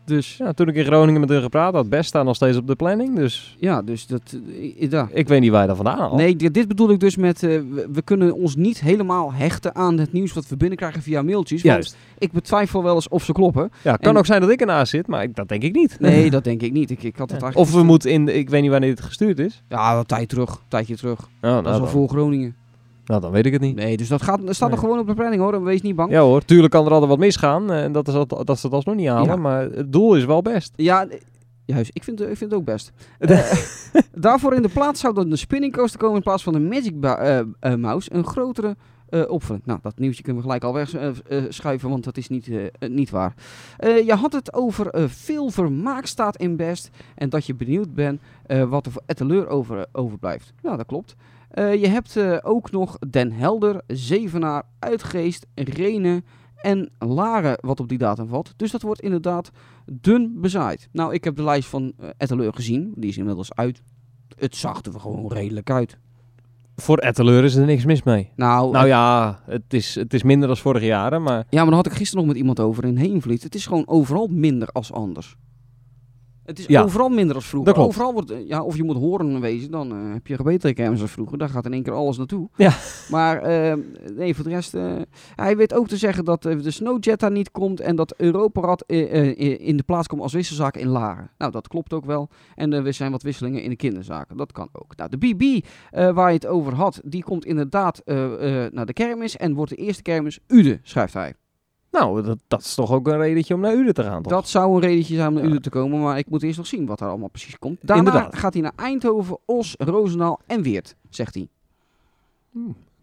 [SPEAKER 3] Dus ja, toen ik in Groningen met hun gepraat had, best staat nog steeds op de planning. Dus
[SPEAKER 4] Ja, dus dat... eh, eh, daar.
[SPEAKER 3] ik weet niet waar je dat vandaan haalt.
[SPEAKER 4] Nee, dit, dit bedoel ik dus met... eh, we, we kunnen ons niet helemaal hechten aan het nieuws wat we binnenkrijgen via mailtjes. want
[SPEAKER 3] Juist.
[SPEAKER 4] ik betwijfel wel eens of ze kloppen.
[SPEAKER 3] Ja, kan
[SPEAKER 4] en-
[SPEAKER 3] ook zijn dat ik ernaast zit, maar ik, dat denk ik niet.
[SPEAKER 4] Nee, dat denk ik niet. Ik, ik had het eigenlijk...
[SPEAKER 3] Of we moeten in, de- ik weet niet wanneer dit gestuurd is.
[SPEAKER 4] Ja, een tijd terug. Een tijdje terug.
[SPEAKER 3] Oh, nou
[SPEAKER 4] Dat is al
[SPEAKER 3] dan.
[SPEAKER 4] voor Groningen.
[SPEAKER 3] Nou, dan weet ik het niet.
[SPEAKER 4] Nee, dus dat gaat, dat staat er
[SPEAKER 3] Nee.
[SPEAKER 4] gewoon op de planning hoor. En Wees niet bang. Ja,
[SPEAKER 3] Ja hoor, tuurlijk kan er altijd wat misgaan. eh, En dat, is al- dat ze dat alsnog niet halen.
[SPEAKER 4] Ja.
[SPEAKER 3] Maar het doel is wel best.
[SPEAKER 4] eh, juist. Ik vind, ik vind het ook best. Eh, daarvoor in de plaats zou dan de spinning coaster komen in plaats van de Magic Ba- eh, eh, Mouse. Een grotere eh opvulling. Nou, dat nieuwtje kunnen we gelijk al eh, wegschuiven, want dat is niet, eh, eh, niet waar. Eh, je had het over eh, veel vermaak staat in best en dat je benieuwd bent eh, wat er voor etaleur over, overblijft. Nou, dat klopt. Eh, je hebt eh, ook nog Den Helder, Zevenaar, Uitgeest, Renen en Laren wat op die datum valt. Dus dat wordt inderdaad dun bezaaid. Nou, ik heb de lijst van eh etaleur gezien. Die is inmiddels uit. Het zag er gewoon redelijk uit.
[SPEAKER 3] Voor Etteleur is er niks mis mee.
[SPEAKER 4] Nou,
[SPEAKER 3] Nou ja, het is, het is minder dan vorig jaren, maar
[SPEAKER 4] Ja, maar daar had ik gisteren nog met iemand over in Heenvliet. Het is gewoon overal minder als anders. Het is
[SPEAKER 3] Ja.
[SPEAKER 4] overal minder als vroeger.
[SPEAKER 3] Dat klopt.
[SPEAKER 4] Overal wordt, eh, ja, of je moet horen wezen, dan eh, heb je gebetekenhemmers als vroeger. Daar gaat in één keer alles naartoe.
[SPEAKER 3] Ja.
[SPEAKER 4] Maar eh, nee, voor de rest... eh, hij weet ook te zeggen dat eh, de Snowjet daar niet komt... en dat Europarad eh, eh, eh, in de plaats komt als wisselzaak in Laren. Nou, dat klopt ook wel. En eh, er zijn wat wisselingen in de kinderzaken. Dat kan ook. Nou, de BB eh, waar je het over had, die komt inderdaad eh, eh, naar de kermis... en wordt de eerste kermis Ude, schrijft hij.
[SPEAKER 3] nou, dat, dat is toch ook een redentje om naar Uden te gaan, toch?
[SPEAKER 4] Dat zou een redentje zijn om naar
[SPEAKER 3] Ja.
[SPEAKER 4] Uden te komen, maar ik moet eerst nog zien wat daar allemaal precies komt. Daarna
[SPEAKER 3] Inderdaad.
[SPEAKER 4] gaat hij naar Eindhoven, Os, Roosendaal en Weert, zegt hij.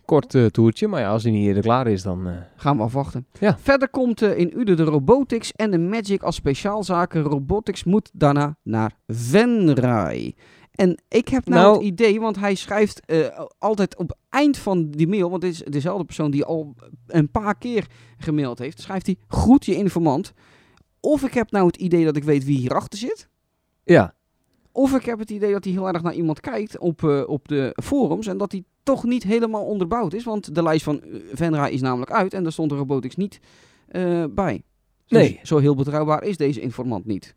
[SPEAKER 3] Kort eh, toertje, maar ja, als hij niet eerder klaar is, dan... eh,
[SPEAKER 4] Gaan we afwachten.
[SPEAKER 3] Ja.
[SPEAKER 4] Verder komt eh, in Uden de Robotics en de Magic als speciaalzaken. Robotics moet daarna naar Venray. En ik heb nou,
[SPEAKER 3] Nou-
[SPEAKER 4] het idee, want hij schrijft eh, altijd op eind van die mail, want het is dezelfde persoon die al een paar keer gemaild heeft, schrijft hij, groet je informant. Of ik heb nou het idee dat ik weet wie hierachter zit.
[SPEAKER 3] Ja,
[SPEAKER 4] Of ik heb het idee dat hij heel erg naar iemand kijkt op, eh, op de forums en dat hij toch niet helemaal onderbouwd is. Want de lijst van eh, Venra is namelijk uit en daar stond de robotics niet eh, bij. Dus
[SPEAKER 3] Nee.
[SPEAKER 4] Zo heel betrouwbaar is deze informant niet.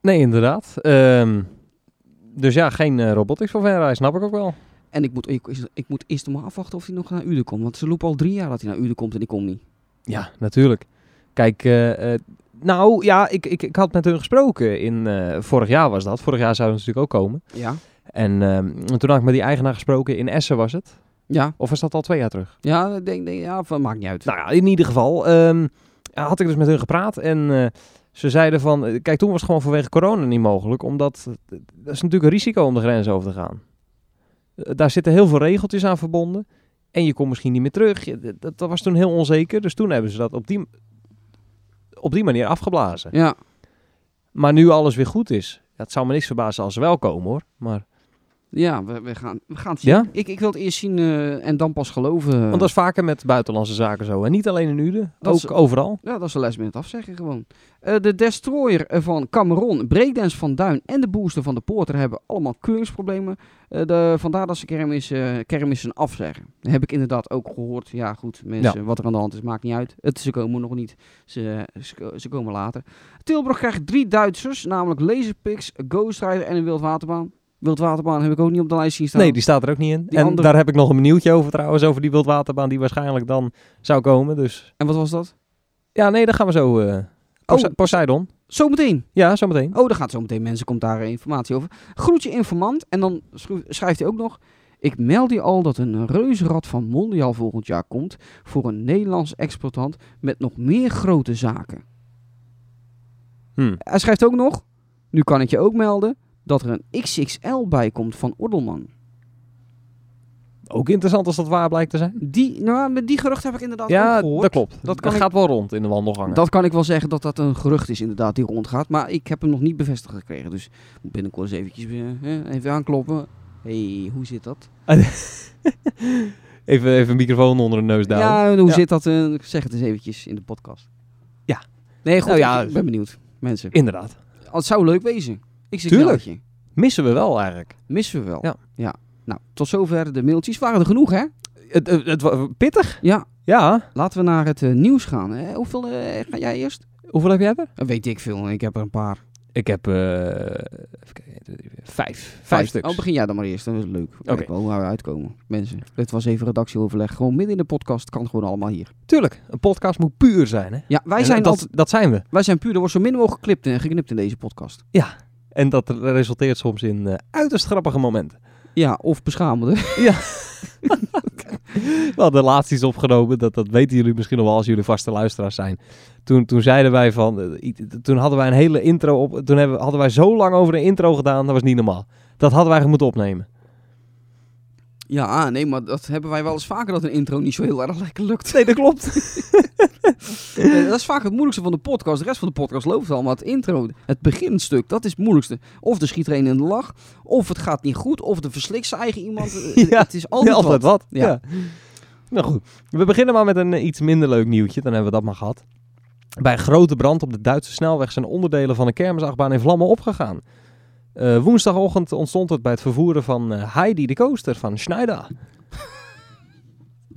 [SPEAKER 3] nee, inderdaad. Ehm, dus ja, geen eh, robotics voor Venray, snap ik ook wel.
[SPEAKER 4] En ik moet, ik, ik moet eerst nog maar afwachten of hij nog naar Uden komt. Want ze lopen al drie jaar dat hij naar Uden komt en die komt niet.
[SPEAKER 3] Ja, natuurlijk. Kijk, eh, eh, nou ja, ik, ik, ik had met hun gesproken. In, eh, vorig jaar was dat. Vorig jaar zouden ze natuurlijk ook komen.
[SPEAKER 4] Ja.
[SPEAKER 3] En ehm, toen had ik met die eigenaar gesproken. In Essen was het.
[SPEAKER 4] Ja,
[SPEAKER 3] Of was dat al twee jaar terug?
[SPEAKER 4] ja, ik denk, denk, ja van, maakt niet uit.
[SPEAKER 3] Nou ja, in ieder geval ehm, had ik dus met hun gepraat en eh, ze zeiden van, eh, kijk toen was het gewoon vanwege corona niet mogelijk, omdat eh, dat is natuurlijk een risico om de grens over te gaan. Eh, daar zitten heel veel regeltjes aan verbonden en je komt misschien niet meer terug. Je- dat- dat, dat was toen heel onzeker, dus toen hebben ze dat op die, op die manier afgeblazen.
[SPEAKER 4] ja.
[SPEAKER 3] Maar nu alles weer goed is, ja, het zou me niks verbazen als ze wel komen hoor. Maar,
[SPEAKER 4] ja we, we, gaan, we gaan het zien.
[SPEAKER 3] Ja?
[SPEAKER 4] Ik, ik wil het eerst zien eh, en dan pas geloven.
[SPEAKER 3] want dat is vaker met buitenlandse zaken zo en niet alleen in Uden,
[SPEAKER 4] Dat
[SPEAKER 3] ook
[SPEAKER 4] is-
[SPEAKER 3] overal.
[SPEAKER 4] Ja, dat is een last minute afzeggen gewoon. Eh, de Destroyer eh, van Cameron, Breakdance van Duin en de Booster van de Porter hebben allemaal keuringsproblemen. Eh, de, vandaar dat ze kermis, eh, kermissen afzeggen. Dat heb ik inderdaad ook gehoord. Ja goed, mensen, wat er aan de hand is, maakt niet uit. Het, ze komen nog niet, ze, ze, ko- ze komen later. Tilburg krijgt drie Duitsers, namelijk Laserpix, Ghost Rider en een Wildwaterbaan. Wildwaterbaan heb ik ook niet op de lijst zien staan.
[SPEAKER 3] Nee, die staat er ook niet in.
[SPEAKER 4] Die
[SPEAKER 3] en
[SPEAKER 4] andere-
[SPEAKER 3] daar heb ik nog een nieuwtje over trouwens, over die wildwaterbaan die waarschijnlijk dan zou komen. Dus
[SPEAKER 4] En wat was dat?
[SPEAKER 3] ja, nee, daar gaan we zo. eh Pose-
[SPEAKER 4] Oh.
[SPEAKER 3] Poseidon.
[SPEAKER 4] Zometeen.
[SPEAKER 3] Ja, zometeen.
[SPEAKER 4] Oh, daar gaat zo meteen mensen, komt daar eh, informatie over. Groet je informant en dan schro- schrijft hij ook nog... Ik meld je al dat een reuzenrad van Mondial volgend jaar komt... voor een Nederlands exploitant met nog meer grote zaken.
[SPEAKER 3] Hm.
[SPEAKER 4] Hij schrijft ook nog... Nu kan ik je ook melden dat er een XXL bij komt van Ordelman.
[SPEAKER 3] Ook interessant als dat waar blijkt te zijn.
[SPEAKER 4] Die, nou, met die gerucht heb ik inderdaad ook
[SPEAKER 3] ja,
[SPEAKER 4] gehoord.
[SPEAKER 3] dat klopt.
[SPEAKER 4] Dat
[SPEAKER 3] Dat,
[SPEAKER 4] kan ik-
[SPEAKER 3] gaat wel rond in de wandelgangen.
[SPEAKER 4] Dat kan ik wel zeggen dat dat een gerucht is inderdaad die rondgaat. Maar ik heb hem nog niet bevestigd gekregen. Dus moet binnenkort eens eventjes eh, eh, even aankloppen. hey, hoe zit dat?
[SPEAKER 3] Even, even een microfoon onder de neus duwen.
[SPEAKER 4] Nou, Ja, en hoe
[SPEAKER 3] Ja.
[SPEAKER 4] zit dat? eh, zeg het eens eventjes in de podcast.
[SPEAKER 3] Ja.
[SPEAKER 4] Nee, goed.
[SPEAKER 3] Nou ja,
[SPEAKER 4] ik ben benieuwd. Mensen.
[SPEAKER 3] Inderdaad.
[SPEAKER 4] Oh, Het zou leuk wezen. Ik zit
[SPEAKER 3] Tuurlijk.
[SPEAKER 4] knalletje.
[SPEAKER 3] Missen we wel eigenlijk.
[SPEAKER 4] Missen we wel.
[SPEAKER 3] Ja.
[SPEAKER 4] Nou, tot zover de mailtjes. Waren er genoeg, hè?
[SPEAKER 3] Het, het, het wa- pittig.
[SPEAKER 4] Ja.
[SPEAKER 3] Ja.
[SPEAKER 4] Laten we naar het eh, nieuws gaan. Hè? Hoeveel eh, ga jij eerst?
[SPEAKER 3] Hoeveel heb jij er?
[SPEAKER 4] Dat weet ik veel. Ik heb er een paar. Vijf,
[SPEAKER 3] Ik heb eh, even kijken, vijf. Vijf stuks.
[SPEAKER 4] Oh, begin jij dan maar eerst. Dat is leuk. Oké.
[SPEAKER 3] Oké.
[SPEAKER 4] wel waar we uitkomen. Mensen, dit was even redactieoverleg. Gewoon midden in de podcast. Kan gewoon allemaal hier.
[SPEAKER 3] Tuurlijk. Een podcast moet puur zijn. Hè?
[SPEAKER 4] Ja, wij
[SPEAKER 3] En
[SPEAKER 4] zijn,
[SPEAKER 3] dat,
[SPEAKER 4] altijd,
[SPEAKER 3] dat zijn we.
[SPEAKER 4] wij zijn puur. Er wordt zo min mogelijk geknipt en geknipt in deze podcast.
[SPEAKER 3] En dat resulteert soms in eh, uiterst grappige momenten.
[SPEAKER 4] Ja, of beschamende.
[SPEAKER 3] We hadden laatst iets opgenomen, dat, dat weten jullie misschien nog wel als jullie vaste luisteraars zijn. Toen, toen zeiden wij van, eh, i- toen hadden wij een hele intro op, toen hebben, hadden wij zo lang over de intro gedaan, dat was niet normaal. Dat hadden wij moeten opnemen.
[SPEAKER 4] Ja, ah, nee, maar dat hebben wij wel eens vaker dat een intro niet zo heel erg lekker lukt.
[SPEAKER 3] Nee, dat klopt.
[SPEAKER 4] Eh, dat is vaak het moeilijkste van de podcast. De rest van de podcast loopt al, maar het intro, het beginstuk, dat is het moeilijkste. Of er schiet er een in de lach, of het gaat niet goed, of er verslikt zijn eigen iemand. Eh,
[SPEAKER 3] Ja,
[SPEAKER 4] Het is altijd,
[SPEAKER 3] Ja,
[SPEAKER 4] wat.
[SPEAKER 3] altijd wat. Ja.
[SPEAKER 4] Ja.
[SPEAKER 3] Nou goed, we beginnen maar met een eh, iets minder leuk nieuwtje. Dan hebben we dat maar gehad. Bij een grote brand op de Duitse snelweg zijn onderdelen van een kermisachtbaan in vlammen opgegaan. Eh, woensdagochtend ontstond het bij het vervoeren van eh, Heidi de coaster van Schneider.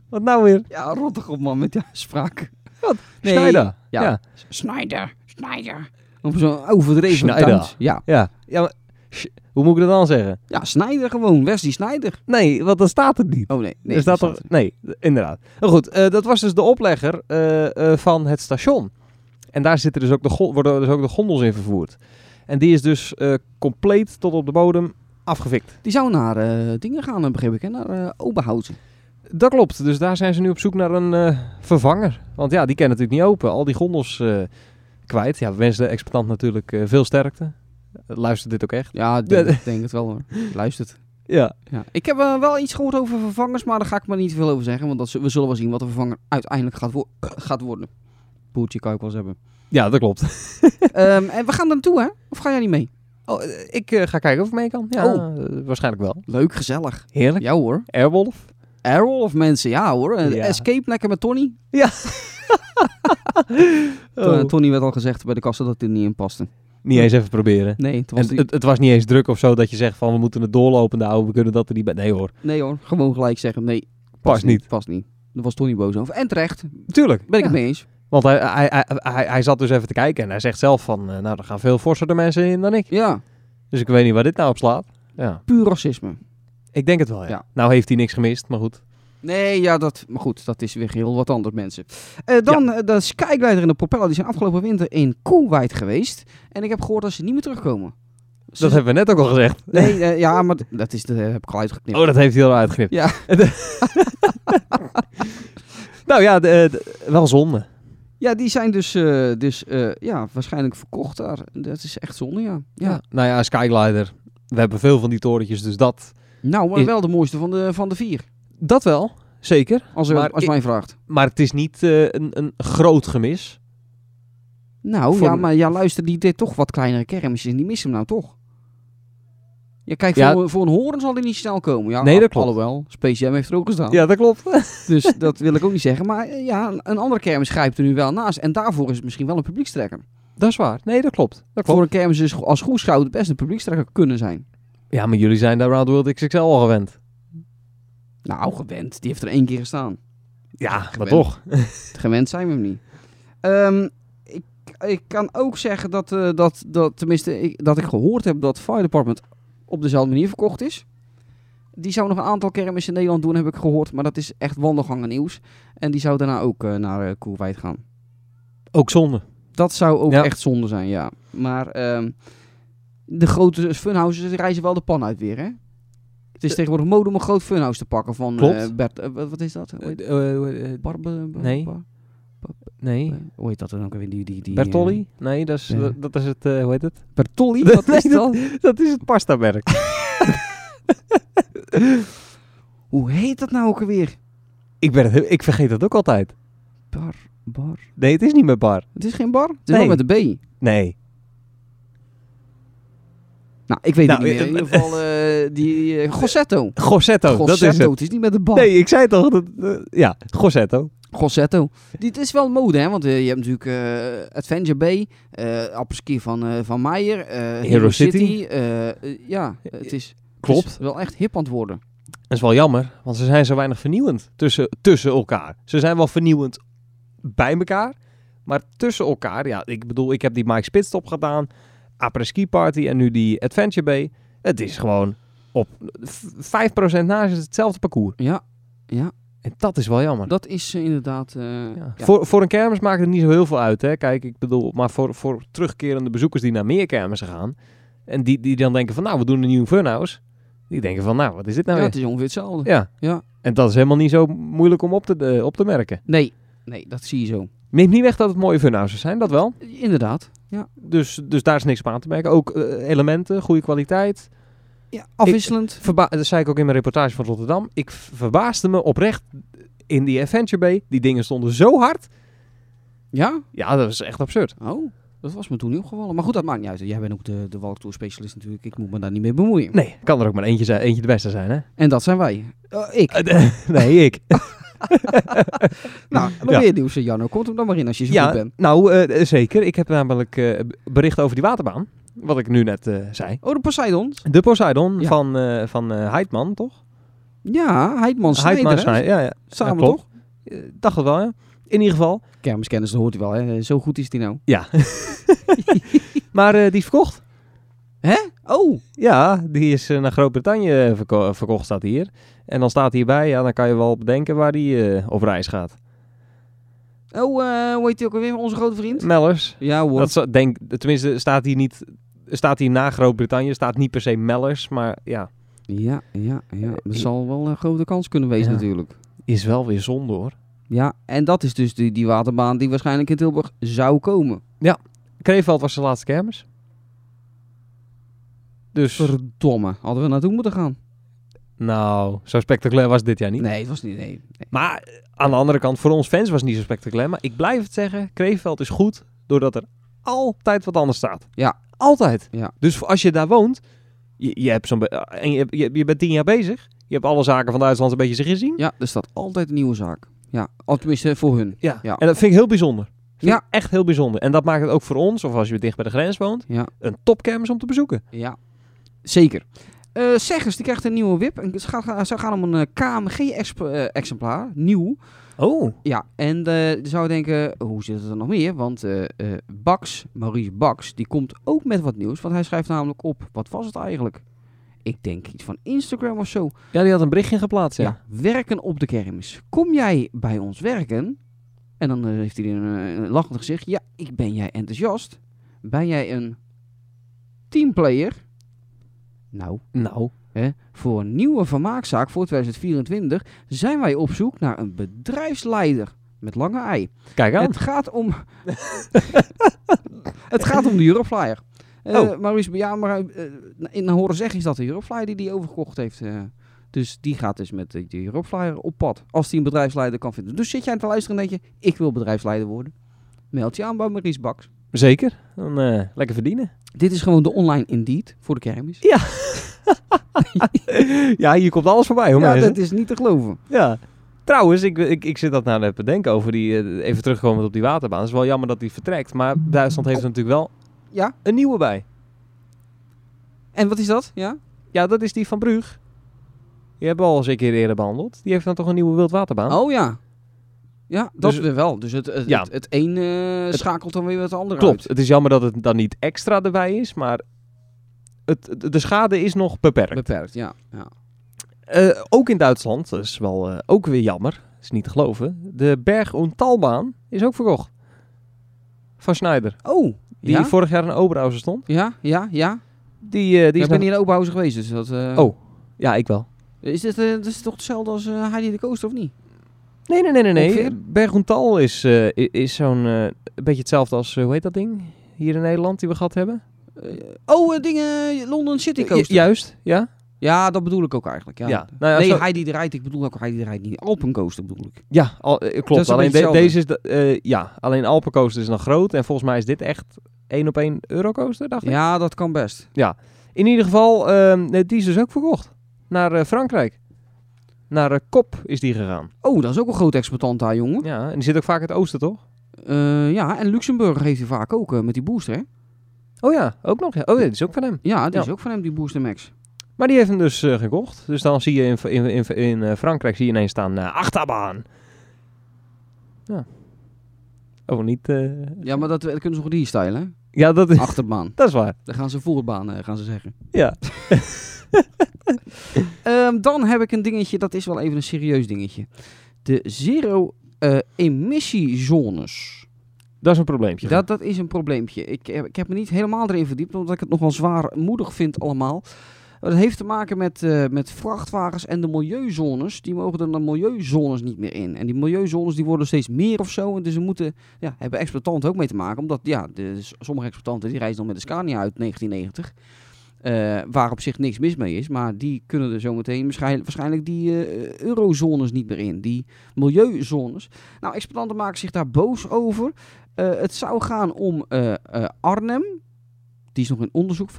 [SPEAKER 3] Wat nou weer?
[SPEAKER 4] Ja, rottig op man met die uitspraak.
[SPEAKER 3] Wat?
[SPEAKER 4] Nee,
[SPEAKER 3] Schneider.
[SPEAKER 4] ja.
[SPEAKER 3] ja.
[SPEAKER 4] Snijder, Snijder. Op zo'n overdreven
[SPEAKER 3] Schneider.
[SPEAKER 4] Duits. Ja.
[SPEAKER 3] Ja. Ja, maar, sh- hoe moet ik dat dan zeggen?
[SPEAKER 4] ja, Snijder gewoon, Wesley Snijder.
[SPEAKER 3] Nee, want dan staat het niet.
[SPEAKER 4] Oh nee, nee.
[SPEAKER 3] is Dus dat
[SPEAKER 4] dat
[SPEAKER 3] toch? Nee, d- inderdaad. Maar goed, eh, dat was dus de oplegger eh, eh, van het station. En daar zitten dus ook de go- worden dus ook de gondels in vervoerd. En die is dus eh, compleet tot op de bodem afgevikt.
[SPEAKER 4] Die zou naar eh, dingen gaan, eh, begreep ik, hè? naar eh Oberhausen.
[SPEAKER 3] Dat klopt. Dus daar zijn ze nu op zoek naar een eh, vervanger. Want ja, die kan natuurlijk niet open. Al die gondels eh, kwijt. Ja, we wensen de exploitant natuurlijk eh, veel sterkte. Luistert dit ook echt?
[SPEAKER 4] Ja, ik denk, denk het wel hoor. Luistert.
[SPEAKER 3] Ja.
[SPEAKER 4] Ja. Ik heb eh, wel iets gehoord over vervangers, maar daar ga ik maar niet veel over zeggen. Want dat, z- we zullen wel zien wat de vervanger uiteindelijk gaat, wo- gaat worden. Boertje kan ik wel eens hebben.
[SPEAKER 3] Ja, dat klopt.
[SPEAKER 4] Ehm, en we gaan er naartoe, hè? Of ga jij niet mee?
[SPEAKER 3] Oh, eh, ik eh, ga kijken of ik mee kan. Ja,
[SPEAKER 4] Oh.
[SPEAKER 3] eh, waarschijnlijk wel.
[SPEAKER 4] Leuk, gezellig.
[SPEAKER 3] Heerlijk.
[SPEAKER 4] Ja hoor.
[SPEAKER 3] Airwolf.
[SPEAKER 4] Airwolf mensen, ja hoor. Eh,
[SPEAKER 3] Ja.
[SPEAKER 4] Escape lekker met Tony.
[SPEAKER 3] Oh. Eh,
[SPEAKER 4] To- Tony werd al gezegd bij de kassa dat dit niet in paste.
[SPEAKER 3] Niet eens even proberen.
[SPEAKER 4] Nee, het was
[SPEAKER 3] En
[SPEAKER 4] die-
[SPEAKER 3] het, het was niet eens druk of zo dat je zegt van we moeten het doorlopende houden, we kunnen dat er niet bij. Nee hoor,
[SPEAKER 4] nee hoor, gewoon gelijk zeggen. Nee,
[SPEAKER 3] past niet.
[SPEAKER 4] Past niet. Daar was Tony boos over. En terecht, ben
[SPEAKER 3] Tuurlijk.
[SPEAKER 4] ik het mee eens.
[SPEAKER 3] Want hij, hij, hij, hij, hij zat dus even te kijken en hij zegt zelf van, eh, nou er gaan veel forserder mensen in dan ik.
[SPEAKER 4] Ja,
[SPEAKER 3] Dus ik weet niet waar dit nou op slaat. Ja,
[SPEAKER 4] puur racisme.
[SPEAKER 3] ik denk het wel ja.
[SPEAKER 4] Ja.
[SPEAKER 3] Nou heeft hij niks gemist, maar goed.
[SPEAKER 4] Nee, ja, dat, maar goed, dat is weer heel wat anders, mensen. Eh, dan eh, de Skyglider en de Propeller, die zijn afgelopen winter in Koeweit geweest. En ik heb gehoord dat ze niet meer terugkomen. Ze-
[SPEAKER 3] Dat hebben we net ook al gezegd.
[SPEAKER 4] Nee, eh, ja, maar d- dat is, dat heb ik al uitgeknipt.
[SPEAKER 3] Oh, dat heeft hij al uitgeknipt.
[SPEAKER 4] Ja.
[SPEAKER 3] nou ja, de- de- wel zonde.
[SPEAKER 4] Ja, die zijn dus, eh, dus eh, ja, waarschijnlijk verkocht daar. Dat is echt zonde, ja. ja.
[SPEAKER 3] Nou ja, Skyglider. We hebben veel van die torentjes, dus dat,
[SPEAKER 4] Nou, maar
[SPEAKER 3] Is-
[SPEAKER 4] wel de mooiste van de, van de vier.
[SPEAKER 3] dat wel. Zeker.
[SPEAKER 4] Als, u-
[SPEAKER 3] Maar
[SPEAKER 4] als
[SPEAKER 3] ik-
[SPEAKER 4] mij vraagt.
[SPEAKER 3] Maar het is niet eh, een, een groot gemis.
[SPEAKER 4] Nou,
[SPEAKER 3] Voor
[SPEAKER 4] ja,
[SPEAKER 3] m-
[SPEAKER 4] maar ja, luister, die deed toch wat kleinere kermisjes en die missen hem nou toch. Ja, kijk,
[SPEAKER 3] Ja.
[SPEAKER 4] Voor, voor een horen zal die niet snel komen. Ja,
[SPEAKER 3] Nee, dat
[SPEAKER 4] al-
[SPEAKER 3] klopt.
[SPEAKER 4] Alhoewel, Space Jam heeft er ook gestaan.
[SPEAKER 3] Ja, dat klopt.
[SPEAKER 4] Dus dat wil ik ook niet zeggen. Maar eh, ja, een- een andere kermis grijpt er nu wel naast. En daarvoor is het misschien wel een publiekstrekker.
[SPEAKER 3] Dat is waar. Nee, dat klopt. Dat
[SPEAKER 4] Voor een kermis is go- als goed het best een publiekstrekker kunnen zijn.
[SPEAKER 3] Ja, maar jullie zijn daar Round World XXL al gewend.
[SPEAKER 4] Nou, gewend. Die heeft er één keer gestaan.
[SPEAKER 3] Ja, maar
[SPEAKER 4] Gewend.
[SPEAKER 3] toch.
[SPEAKER 4] Gewend zijn we hem niet. Ehm, ik, ik kan ook zeggen dat, eh, dat, dat tenminste, ik, dat ik gehoord heb dat Fire Department op dezelfde manier verkocht is. Die zou nog een aantal kermissen in Nederland doen, heb ik gehoord. Maar dat is echt wandelgangen nieuws. En die zou daarna ook eh, naar eh Koerwijd gaan.
[SPEAKER 3] Ook zonde.
[SPEAKER 4] Dat zou ook
[SPEAKER 3] Ja.
[SPEAKER 4] echt zonde zijn, ja. Maar ehm, de grote funhouses reizen wel de pan uit weer, hè? Het is tegenwoordig mode om een groot funhouse te pakken van
[SPEAKER 3] Eh. Klopt. Eh,
[SPEAKER 4] eh, Bert... eh, wat, wat is dat? Hoe heet, Barbe- Bar-
[SPEAKER 3] nee.
[SPEAKER 4] Bar-
[SPEAKER 3] nee.
[SPEAKER 4] Eh, hoe heet dat dan ook weer? Die, die, die,
[SPEAKER 3] Bertolli? Nee, dat is,
[SPEAKER 4] ja.
[SPEAKER 3] dat, dat is het, eh, hoe heet het?
[SPEAKER 4] eh, Bertolli? Wat
[SPEAKER 3] Nee,
[SPEAKER 4] is dat?
[SPEAKER 3] Dat is het pastamerk.
[SPEAKER 4] Hoe heet dat nou ook weer?
[SPEAKER 3] ik, ben het, ik vergeet dat ook altijd.
[SPEAKER 4] Bar, bar...
[SPEAKER 3] Nee, het is niet met bar.
[SPEAKER 4] Het is geen bar? Het is
[SPEAKER 3] Nee.
[SPEAKER 4] wel met een B.
[SPEAKER 3] Nee.
[SPEAKER 4] Nou, ik weet
[SPEAKER 3] Nou,
[SPEAKER 4] het niet meer.
[SPEAKER 3] eh,
[SPEAKER 4] In ieder geval eh, die... eh, Gossetto.
[SPEAKER 3] Gossetto, dat is
[SPEAKER 4] Gossetto,
[SPEAKER 3] het.
[SPEAKER 4] het is niet met een bar.
[SPEAKER 3] Nee, ik zei toch. Dat, eh, ja, Gossetto.
[SPEAKER 4] Grossetto. Dit is wel mode, hè? Want eh, je hebt natuurlijk eh, Adventure Bay, eh Apperski van, eh van Meijer, eh Hero City.
[SPEAKER 3] City.
[SPEAKER 4] eh, eh, ja, het is,
[SPEAKER 3] Klopt.
[SPEAKER 4] het is wel echt hip aan het worden.
[SPEAKER 3] Dat is wel jammer, want ze zijn zo weinig vernieuwend tussen, tussen elkaar. Ze zijn wel vernieuwend bij elkaar, maar tussen elkaar. Ja, ik bedoel, ik heb die Mike Spitstop gedaan, Après Ski Party en nu die Adventure Bay. Het is gewoon op v- 5% na is het hetzelfde parcours.
[SPEAKER 4] Ja,
[SPEAKER 3] En dat is wel jammer.
[SPEAKER 4] dat is eh, inderdaad... eh,
[SPEAKER 3] Ja.
[SPEAKER 4] ja.
[SPEAKER 3] Voor, voor een kermis maakt het niet zo heel veel uit. Hè? Kijk, ik bedoel, maar voor, voor terugkerende bezoekers die naar meer kermissen gaan. En die, die dan denken van, nou, we doen een nieuw funhouse. Die denken van, nou, wat is dit nou
[SPEAKER 4] Ja,
[SPEAKER 3] weer?
[SPEAKER 4] het is ongeveer hetzelfde.
[SPEAKER 3] Ja.
[SPEAKER 4] Ja.
[SPEAKER 3] En dat is helemaal niet zo moeilijk om op te, eh, op te merken.
[SPEAKER 4] Nee, nee, dat zie je zo.
[SPEAKER 3] Neemt niet weg dat het mooie funhouses zijn, dat wel.
[SPEAKER 4] Inderdaad. Ja.
[SPEAKER 3] Dus, dus daar is niks op aan te merken. Ook eh, elementen, goede kwaliteit.
[SPEAKER 4] Ja, afwisselend.
[SPEAKER 3] Verba dat zei ik ook in mijn reportage van Rotterdam. Ik v- verbaasde me oprecht in die Adventure Bay. Die dingen stonden zo hard.
[SPEAKER 4] ja?
[SPEAKER 3] Ja, dat is echt absurd.
[SPEAKER 4] Oh, dat was me toen niet opgevallen. Maar goed, dat maakt niet uit. Jij bent ook de, de walktour specialist natuurlijk. Ik moet me daar niet mee bemoeien.
[SPEAKER 3] Nee, kan er ook maar eentje, zijn, eentje de beste zijn, hè?
[SPEAKER 4] En dat zijn wij. Eh, ik.
[SPEAKER 3] nee, ik.
[SPEAKER 4] nou, dan
[SPEAKER 3] ja.
[SPEAKER 4] weer nieuws, eh, Janno. Komt hem dan maar in als je zo goed
[SPEAKER 3] Ja,
[SPEAKER 4] bent.
[SPEAKER 3] nou, eh, zeker. Ik heb namelijk eh, bericht over die waterbaan. Wat ik nu net eh, zei.
[SPEAKER 4] Oh, de Poseidon.
[SPEAKER 3] De Poseidon
[SPEAKER 4] Ja.
[SPEAKER 3] van, eh van eh, Heidman, toch?
[SPEAKER 4] Ja, Heidman Snijder.
[SPEAKER 3] Heidman
[SPEAKER 4] hè?
[SPEAKER 3] Snijder, ja, ja.
[SPEAKER 4] Samen
[SPEAKER 3] Ja, klopt.
[SPEAKER 4] toch?
[SPEAKER 3] Eh, dacht het wel, ja. In ieder geval.
[SPEAKER 4] Kermiskennis, dat hoort hij wel. Hè? Zo goed is die nou.
[SPEAKER 3] Maar eh, die is verkocht.
[SPEAKER 4] Oh,
[SPEAKER 3] Ja, die is eh, naar Groot-Brittannië eh, verko- verkocht, staat hier. En dan staat hierbij, ja, dan kan je wel bedenken waar die eh, op reis gaat.
[SPEAKER 4] oh eh, hoe heet hij ook alweer? Onze grote vriend?
[SPEAKER 3] Mellers.
[SPEAKER 4] Ja hoor.
[SPEAKER 3] Dat zo- denk, tenminste, staat hier niet... Staat hier na Groot-Brittannië, staat niet per se Mellers, maar ja,
[SPEAKER 4] Ja, ja, ja. Dat
[SPEAKER 3] Eh,
[SPEAKER 4] zal wel een grote kans kunnen wezen
[SPEAKER 3] Ja.
[SPEAKER 4] natuurlijk.
[SPEAKER 3] is wel weer zonde hoor.
[SPEAKER 4] Ja, en dat is dus die, die waterbaan die waarschijnlijk in Tilburg zou komen.
[SPEAKER 3] Kreeveld was de laatste kermis. Dus,
[SPEAKER 4] Verdomme, hadden we naartoe moeten gaan.
[SPEAKER 3] nou, zo spectaculair was het dit jaar niet.
[SPEAKER 4] Nee, het was niet. Nee.
[SPEAKER 3] Maar eh, aan de andere kant, voor ons fans was het niet zo spectaculair. Maar ik blijf het zeggen, Kreeveld is goed doordat er altijd wat anders staat.
[SPEAKER 4] Ja.
[SPEAKER 3] Altijd.
[SPEAKER 4] Ja.
[SPEAKER 3] Dus voor- als je daar woont, je, je, hebt zo'n be- eh, en je, hebt- je, je bent tien jaar bezig. Je hebt alle zaken van Duitsland een beetje zich gezien.
[SPEAKER 4] Ja, er staat altijd een nieuwe zaak. Ja, al tenminste voor hun.
[SPEAKER 3] Ja.
[SPEAKER 4] Ja.
[SPEAKER 3] En dat vind ik heel bijzonder. Vind
[SPEAKER 4] Ja.
[SPEAKER 3] ik echt heel bijzonder. En dat maakt het ook voor ons, of als je dicht bij de grens woont,
[SPEAKER 4] Ja.
[SPEAKER 3] een topkermis om te bezoeken.
[SPEAKER 4] Ja, zeker. Eh Zeggers, die krijgt een nieuwe WIP. En ze gaat, ze gaan om een eh, KMG-exemplaar, eh, nieuw.
[SPEAKER 3] Oh.
[SPEAKER 4] Ja, en eh, je zou denken, hoe zit het er nog meer? Want eh eh, Bax, Maurice Bax, die komt ook met wat nieuws. Want hij schrijft namelijk op, wat was het eigenlijk? Ik denk iets van Instagram of zo.
[SPEAKER 3] Ja, die had een berichtje geplaatst, ja.
[SPEAKER 4] Ja, werken op de kermis. Kom jij bij ons werken? En dan eh, heeft hij een, eh, een lachend gezicht. Ja, ik ben jij enthousiast. Ben jij een teamplayer? Nou,
[SPEAKER 3] Nou,
[SPEAKER 4] Hè? Voor een nieuwe vermaakzaak voor 2024 zijn wij op zoek naar een bedrijfsleider met lange ei.
[SPEAKER 3] kijk aan.
[SPEAKER 4] Het gaat om. het gaat om de Euroflyer. Eh
[SPEAKER 3] Oh.
[SPEAKER 4] Maurice, ja, maar eh, in horen zeggen is dat de Euroflyer die die overgekocht heeft. eh. dus die gaat dus met de de Euroflyer op pad. Als die een bedrijfsleider kan vinden. Dus zit jij te luisteren en denk je: ik wil bedrijfsleider worden? Meld je aan bij Maurice Baks.
[SPEAKER 3] Zeker. Dan eh, lekker verdienen.
[SPEAKER 4] Dit is gewoon de online Indeed voor de kermis.
[SPEAKER 3] ja, hier komt alles voorbij, hoor.
[SPEAKER 4] Ja,
[SPEAKER 3] mensen.
[SPEAKER 4] dat is niet te geloven.
[SPEAKER 3] Ja. Trouwens, ik, ik, ik zit dat nou net te bedenken over die. eh, even terugkomend op die waterbaan. Het is wel jammer dat die vertrekt. Maar Duitsland heeft er natuurlijk wel
[SPEAKER 4] Ja.
[SPEAKER 3] een nieuwe bij.
[SPEAKER 4] En wat is dat? Ja?
[SPEAKER 3] Ja, dat is die van Brug. Die hebben we al eens een keer eerder behandeld. Die heeft dan toch een nieuwe wildwaterbaan?
[SPEAKER 4] Oh ja. Ja, dat
[SPEAKER 3] Dus-
[SPEAKER 4] weer wel. Dus het, het,
[SPEAKER 3] Ja.
[SPEAKER 4] het, het een eh, schakelt dan weer het andere
[SPEAKER 3] Klopt.
[SPEAKER 4] uit.
[SPEAKER 3] Het is jammer dat het dan niet extra erbij is. Maar het, het- de schade is nog beperkt.
[SPEAKER 4] Beperkt, ja. ja.
[SPEAKER 3] Eh, ook in Duitsland, dat is wel eh, ook weer jammer. Is niet te geloven. De Berg- und Talbaan is ook verkocht. Van Schneider.
[SPEAKER 4] Oh,
[SPEAKER 3] Die
[SPEAKER 4] ja?
[SPEAKER 3] vorig jaar in Oberhausen stond.
[SPEAKER 4] ja, ja, ja.
[SPEAKER 3] Die, eh, die
[SPEAKER 4] Ik
[SPEAKER 3] is
[SPEAKER 4] ben
[SPEAKER 3] nog-
[SPEAKER 4] hier in Oberhausen geweest, dus dat... eh,
[SPEAKER 3] Oh. Ja, ik wel.
[SPEAKER 4] Is dit, eh, dit is toch hetzelfde als eh, Heidi de Coaster, of niet?
[SPEAKER 3] Nee, nee, nee, nee. nee.
[SPEAKER 4] Ongeveer?
[SPEAKER 3] Bergontal is, eh, i- is zo'n eh, een beetje hetzelfde als, eh, hoe heet dat ding? Hier in Nederland, die we gehad hebben.
[SPEAKER 4] Oh, eh, dingen, London City Coaster.
[SPEAKER 3] Ju- Juist, Eh, ja.
[SPEAKER 4] Ja, dat bedoel ik ook eigenlijk, ja.
[SPEAKER 3] Ja, nou ja,
[SPEAKER 4] nee,
[SPEAKER 3] zo-
[SPEAKER 4] Heidi de Rijt, ik bedoel ook Heidi de Rijt niet. Alpen Coaster bedoel ik.
[SPEAKER 3] Ja, al, eh,
[SPEAKER 4] Dat is
[SPEAKER 3] klopt.
[SPEAKER 4] een
[SPEAKER 3] Alleen
[SPEAKER 4] beetje
[SPEAKER 3] de-
[SPEAKER 4] hetzelfde.
[SPEAKER 3] deze is, de, eh, ja, alleen Alpencoaster is nog groot. En volgens mij is dit echt één op één Eurocoaster, dacht ik.
[SPEAKER 4] Ja, dat kan best.
[SPEAKER 3] In ieder geval, ehm, nee, die is dus ook verkocht. Naar eh, Frankrijk. Naar eh, Kop is die gegaan.
[SPEAKER 4] Oh, dat is ook een groot exploitant daar, jongen.
[SPEAKER 3] Ja, en die zit ook vaak in het oosten, toch?
[SPEAKER 4] Eh, ja, en Luxemburg heeft hij vaak ook eh, met die booster, hè?
[SPEAKER 3] Oh ja, ook nog. Ja. Oh, dit is ook van hem.
[SPEAKER 4] Ja, die
[SPEAKER 3] Ja.
[SPEAKER 4] is ook van hem, die booster Max.
[SPEAKER 3] Maar die heeft hem dus eh, gekocht. Dus dan zie je in, in, in, in eh, Frankrijk zie je ineens staan eh achterbaan. Ja. Oh, niet. eh,
[SPEAKER 4] Ja, maar dat, dat kunnen ze goed hier stylen, hè?
[SPEAKER 3] Ja, dat is,
[SPEAKER 4] achterbaan.
[SPEAKER 3] dat is waar.
[SPEAKER 4] Dan gaan ze voorbaan, eh, gaan ze zeggen.
[SPEAKER 3] Ja.
[SPEAKER 4] Ehm, dan heb ik een dingetje, dat is wel even een serieus dingetje. De eh, zero-emissiezones.
[SPEAKER 3] Dat is een probleempje.
[SPEAKER 4] dat, dat is een probleempje. Ik, heb- ik heb me niet helemaal erin verdiept, omdat ik het nogal zwaarmoedig vind allemaal. Maar Dat heeft te maken met, eh, met vrachtwagens en de milieuzones. Die mogen er dan milieuzones niet meer in. En die milieuzones die worden steeds meer of zo. En dus ze moeten, ja, hebben exploitanten ook mee te maken. Omdat ja, de, sommige exploitanten die reizen dan met de Scania uit 1990. eh, waar op zich niks mis mee is. Maar die kunnen er zometeen waarschijnlijk, waarschijnlijk die eh, eurozones niet meer in. Die milieuzones. Nou, exploitanten maken zich daar boos over. Eh, het zou gaan om eh, eh, Arnhem. Die is nog in onderzoek...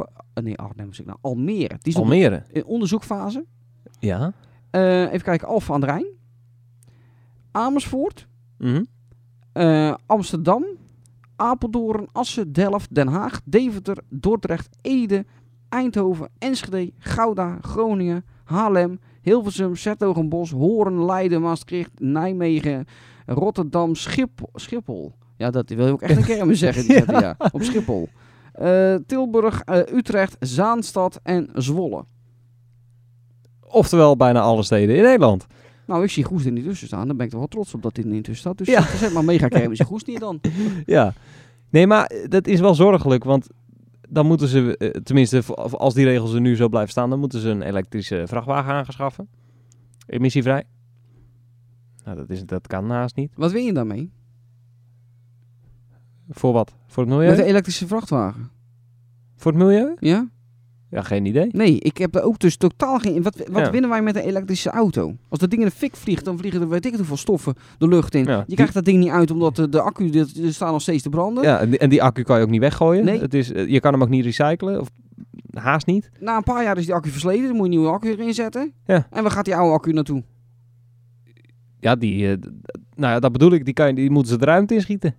[SPEAKER 4] nee, Arnhem zeg ik nou. Almere. Die is nog
[SPEAKER 3] Almere.
[SPEAKER 4] in onderzoekfase.
[SPEAKER 3] Ja.
[SPEAKER 4] Eh, even kijken. Alphen aan de Rijn. Amersfoort.
[SPEAKER 3] Mhm.
[SPEAKER 4] Eh, Amsterdam, Apeldoorn, Assen, Delft, Den Haag, Deventer, Dordrecht, Ede, Eindhoven, Enschede, Gouda, Groningen, Haarlem, Hilversum, Zertogenbos, Hoorn, Leiden, Maastricht, Nijmegen, Rotterdam, Schiphol. Schiphol. Ja, dat wil je ook echt een keer aan me zeggen. die zetten, ja. Op Schiphol. Eh, Tilburg, eh, Utrecht, Zaanstad en Zwolle.
[SPEAKER 3] Oftewel bijna alle steden in Nederland.
[SPEAKER 4] Nou, ik zie Goes er niet tussen staan. Dan ben ik er wel trots op dat dit er niet tussen staat. Dus
[SPEAKER 3] Ja.
[SPEAKER 4] zet maar mega kermis in Goes niet dan.
[SPEAKER 3] Ja. Nee, maar eh, dat is wel zorgelijk, want dan moeten ze, eh, tenminste, v- als die regels er nu zo blijven staan, dan moeten ze een elektrische vrachtwagen aangeschaffen. Emissievrij. Nou, dat, is, dat kan haast niet.
[SPEAKER 4] Wat win je daarmee?
[SPEAKER 3] Voor wat? Voor het milieu?
[SPEAKER 4] Met e- een elektrische vrachtwagen.
[SPEAKER 3] Voor het milieu?
[SPEAKER 4] Ja?
[SPEAKER 3] Ja, geen idee.
[SPEAKER 4] Nee, ik heb er ook dus totaal geen... Wat, wat
[SPEAKER 3] Ja.
[SPEAKER 4] winnen wij met een elektrische auto? Als dat ding in de fik vliegt, dan vliegen er weet ik het hoeveel stoffen de lucht in.
[SPEAKER 3] Ja,
[SPEAKER 4] je
[SPEAKER 3] die-
[SPEAKER 4] krijgt dat ding niet uit omdat de, de accu, dit- er staat nog steeds te branden.
[SPEAKER 3] Ja, en die, en die accu kan je ook niet weggooien.
[SPEAKER 4] Nee.
[SPEAKER 3] Het is, eh, je kan hem ook niet recyclen, of haast niet.
[SPEAKER 4] Na een paar jaar is die accu versleten, dan moet je een nieuwe accu erin zetten.
[SPEAKER 3] Ja.
[SPEAKER 4] En waar gaat die oude accu naartoe?
[SPEAKER 3] Ja, die, eh, d- d- nou ja, dat bedoel ik, die, kan je, die moeten ze de ruimte inschieten.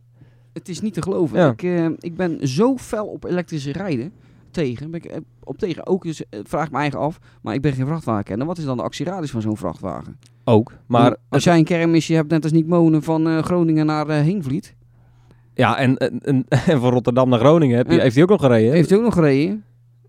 [SPEAKER 4] Het is niet te geloven.
[SPEAKER 3] Ja.
[SPEAKER 4] Ik, eh, ik ben zo fel op elektrische rijden tegen. Ben ik, eh, op tegen ook, dus, eh, vraag ik me eigen af. Maar ik ben geen vrachtwagenkenner. Wat is dan de actieradius van zo'n vrachtwagen?
[SPEAKER 3] Ook. Maar
[SPEAKER 4] Want als jij een kermisje hebt, net als Nick Monen, van eh, Groningen naar eh Heenvliet.
[SPEAKER 3] Ja, en, en, en, en van Rotterdam naar Groningen heb je,
[SPEAKER 4] Ja.
[SPEAKER 3] heeft hij ook nog gereden.
[SPEAKER 4] Heeft hij ook nog gereden?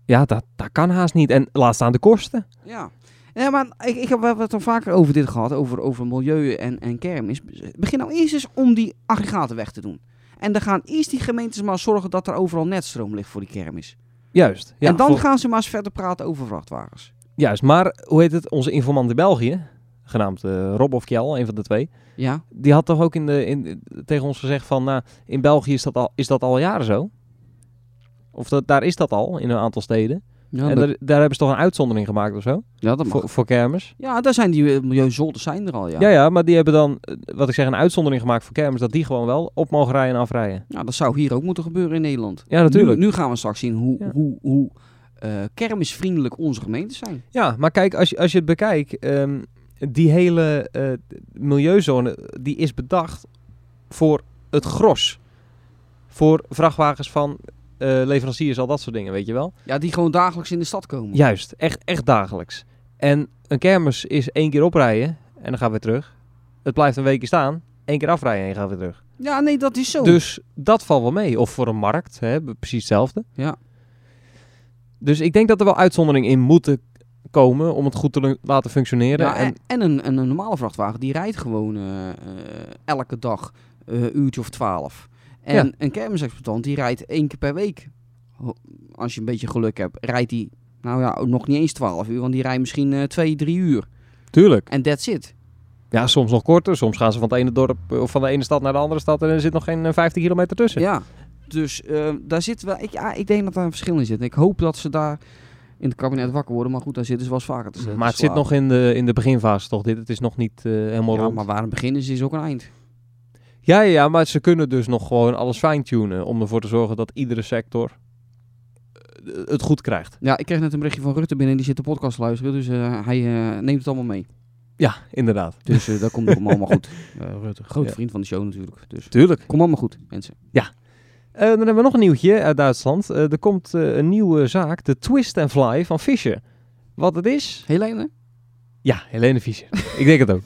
[SPEAKER 3] Ja, dat, dat kan haast niet. En laat staan de kosten.
[SPEAKER 4] Ja. Ja, maar ik, ik heb we hebben het al vaker over dit gehad, over, over milieu en, en kermis. Begin nou eerst eens om die aggregaten weg te doen. En dan gaan eerst die gemeentes maar zorgen dat er overal netstroom ligt voor die kermis.
[SPEAKER 3] Juist. Ja,
[SPEAKER 4] en dan
[SPEAKER 3] vol-
[SPEAKER 4] gaan ze maar eens verder praten over vrachtwagens.
[SPEAKER 3] Juist, maar hoe heet het? Onze informant in België, genaamd eh, Rob of Kjell, een van de twee.
[SPEAKER 4] Ja,
[SPEAKER 3] Die had toch ook in de, in, tegen ons gezegd van, nou, in België is dat al, is dat al jaren zo? Of dat, daar is dat al, in een aantal steden.
[SPEAKER 4] ja,
[SPEAKER 3] en
[SPEAKER 4] dat,
[SPEAKER 3] daar, daar hebben ze toch een uitzondering gemaakt of zo?
[SPEAKER 4] ja, dat mag.
[SPEAKER 3] Voor, voor kermis.
[SPEAKER 4] Ja, daar zijn die eh, milieuzolder zijn er al, ja.
[SPEAKER 3] Ja. ja, maar die hebben dan, eh, wat ik zeg, een uitzondering gemaakt voor kermis. Dat die gewoon wel op mogen rijden en afrijden.
[SPEAKER 4] Nou, dat zou hier ook moeten gebeuren in Nederland.
[SPEAKER 3] Ja, natuurlijk.
[SPEAKER 4] Nu, nu gaan we straks zien hoe,
[SPEAKER 3] Ja.
[SPEAKER 4] hoe, hoe eh, kermisvriendelijk onze gemeentes zijn.
[SPEAKER 3] Ja, maar kijk, als je, als je het bekijkt, ehm, die hele eh, milieuzone die is bedacht voor het gros. Voor vrachtwagens van eh, leveranciers, al dat soort dingen, weet je wel.
[SPEAKER 4] Ja, die gewoon dagelijks in de stad komen.
[SPEAKER 3] Juist, echt, echt dagelijks. En een kermis is één keer oprijden en dan gaan we weer terug. Het blijft een weekje staan, één keer afrijden en gaan we weer terug.
[SPEAKER 4] Ja, nee, dat is zo.
[SPEAKER 3] Dus dat valt wel mee. Of voor een markt, hè, b- precies hetzelfde.
[SPEAKER 4] Ja.
[SPEAKER 3] Dus ik denk dat er wel uitzonderingen in moeten komen om het goed te lu- laten functioneren.
[SPEAKER 4] Ja,
[SPEAKER 3] en,
[SPEAKER 4] en, en een, en een normale vrachtwagen, die rijdt gewoon eh, eh, elke dag eh uurtje of twaalf. En
[SPEAKER 3] Ja.
[SPEAKER 4] een kermisexploitant, die rijdt één keer per week. Ho- Als je een beetje geluk hebt, rijdt die, nou ja, nog niet eens twaalf uur, want die rijdt misschien eh, twee, drie uur.
[SPEAKER 3] Tuurlijk.
[SPEAKER 4] En that's it.
[SPEAKER 3] Ja, soms nog korter. Soms gaan ze van het ene dorp eh, of van de ene stad naar de andere stad en er zit nog geen eh, 15 kilometer tussen.
[SPEAKER 4] Ja. Dus eh, daar zit wel, ik, ja, ik denk dat daar een verschil in zit. En ik hoop dat ze daar in het kabinet wakker worden, maar goed, daar zitten ze wel eens vaker te te
[SPEAKER 3] maar het zit
[SPEAKER 4] slaan.
[SPEAKER 3] nog in de, in de beginfase toch? Dit, het is nog niet eh, helemaal
[SPEAKER 4] Ja,
[SPEAKER 3] rond.
[SPEAKER 4] maar waar een begin is, is ook een eind.
[SPEAKER 3] Ja, ja, ja, maar ze kunnen dus nog gewoon alles fine-tunen om ervoor te zorgen dat iedere sector eh, het goed krijgt.
[SPEAKER 4] Ja, ik kreeg net een berichtje van Rutte binnen, die zit de podcast te luisteren, dus eh, hij eh, neemt het allemaal mee.
[SPEAKER 3] Ja, inderdaad.
[SPEAKER 4] Dus eh, dat komt nog allemaal goed. Grote
[SPEAKER 3] Ja.
[SPEAKER 4] vriend van de show natuurlijk. Dus
[SPEAKER 3] Tuurlijk.
[SPEAKER 4] kom allemaal goed, mensen.
[SPEAKER 3] Eh, dan hebben we nog een nieuwtje uit Duitsland. Eh, er komt eh, een nieuwe zaak, de Twist and Fly van Fischer. Wat het is,
[SPEAKER 4] Helene?
[SPEAKER 3] Ja, Helene Fischer. ik denk het ook.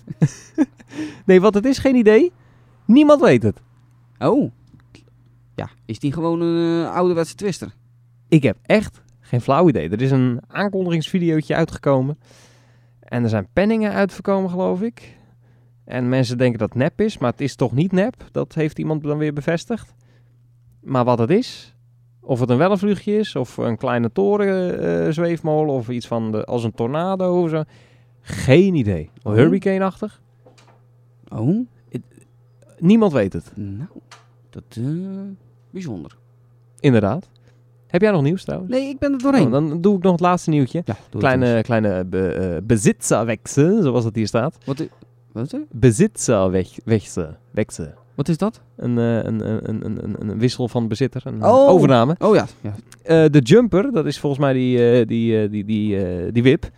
[SPEAKER 3] nee, wat het is, geen idee. Niemand weet het.
[SPEAKER 4] Oh. Ja, is die gewoon een eh, ouderwetse twister?
[SPEAKER 3] Ik heb echt geen flauw idee. Er is een aankondigingsvideootje uitgekomen. En er zijn penningen uitgekomen, geloof ik. En mensen denken dat het nep is, maar het is toch niet nep. Dat heeft iemand dan weer bevestigd. Maar wat het is, of het een wellenvluchtje is, of een kleine torenzweefmolen, eh, of iets van de, als een tornado of zo. Geen idee.
[SPEAKER 4] Oh.
[SPEAKER 3] Hurricane-achtig.
[SPEAKER 4] Oh,
[SPEAKER 3] Niemand weet het.
[SPEAKER 4] nou. Dat, eh bijzonder.
[SPEAKER 3] Inderdaad. Heb jij nog nieuws trouwens?
[SPEAKER 4] Nee, ik ben er doorheen.
[SPEAKER 3] Oh, dan doe ik nog het laatste nieuwtje.
[SPEAKER 4] ja, doe het eens.
[SPEAKER 3] Kleine, kleine be, eh, bezitzerwechsel, zoals dat hier staat.
[SPEAKER 4] Wat, i- wat, is er?
[SPEAKER 3] Bezitzerwechsel. Wechsel.
[SPEAKER 4] wat is dat?
[SPEAKER 3] Een, eh, een, een, een, een, een- een wissel van bezitter, een
[SPEAKER 4] Oh.
[SPEAKER 3] overname.
[SPEAKER 4] Oh ja. ja.
[SPEAKER 3] Eh, de jumper, dat is volgens mij die, eh, die, eh, die, die, eh, die wip.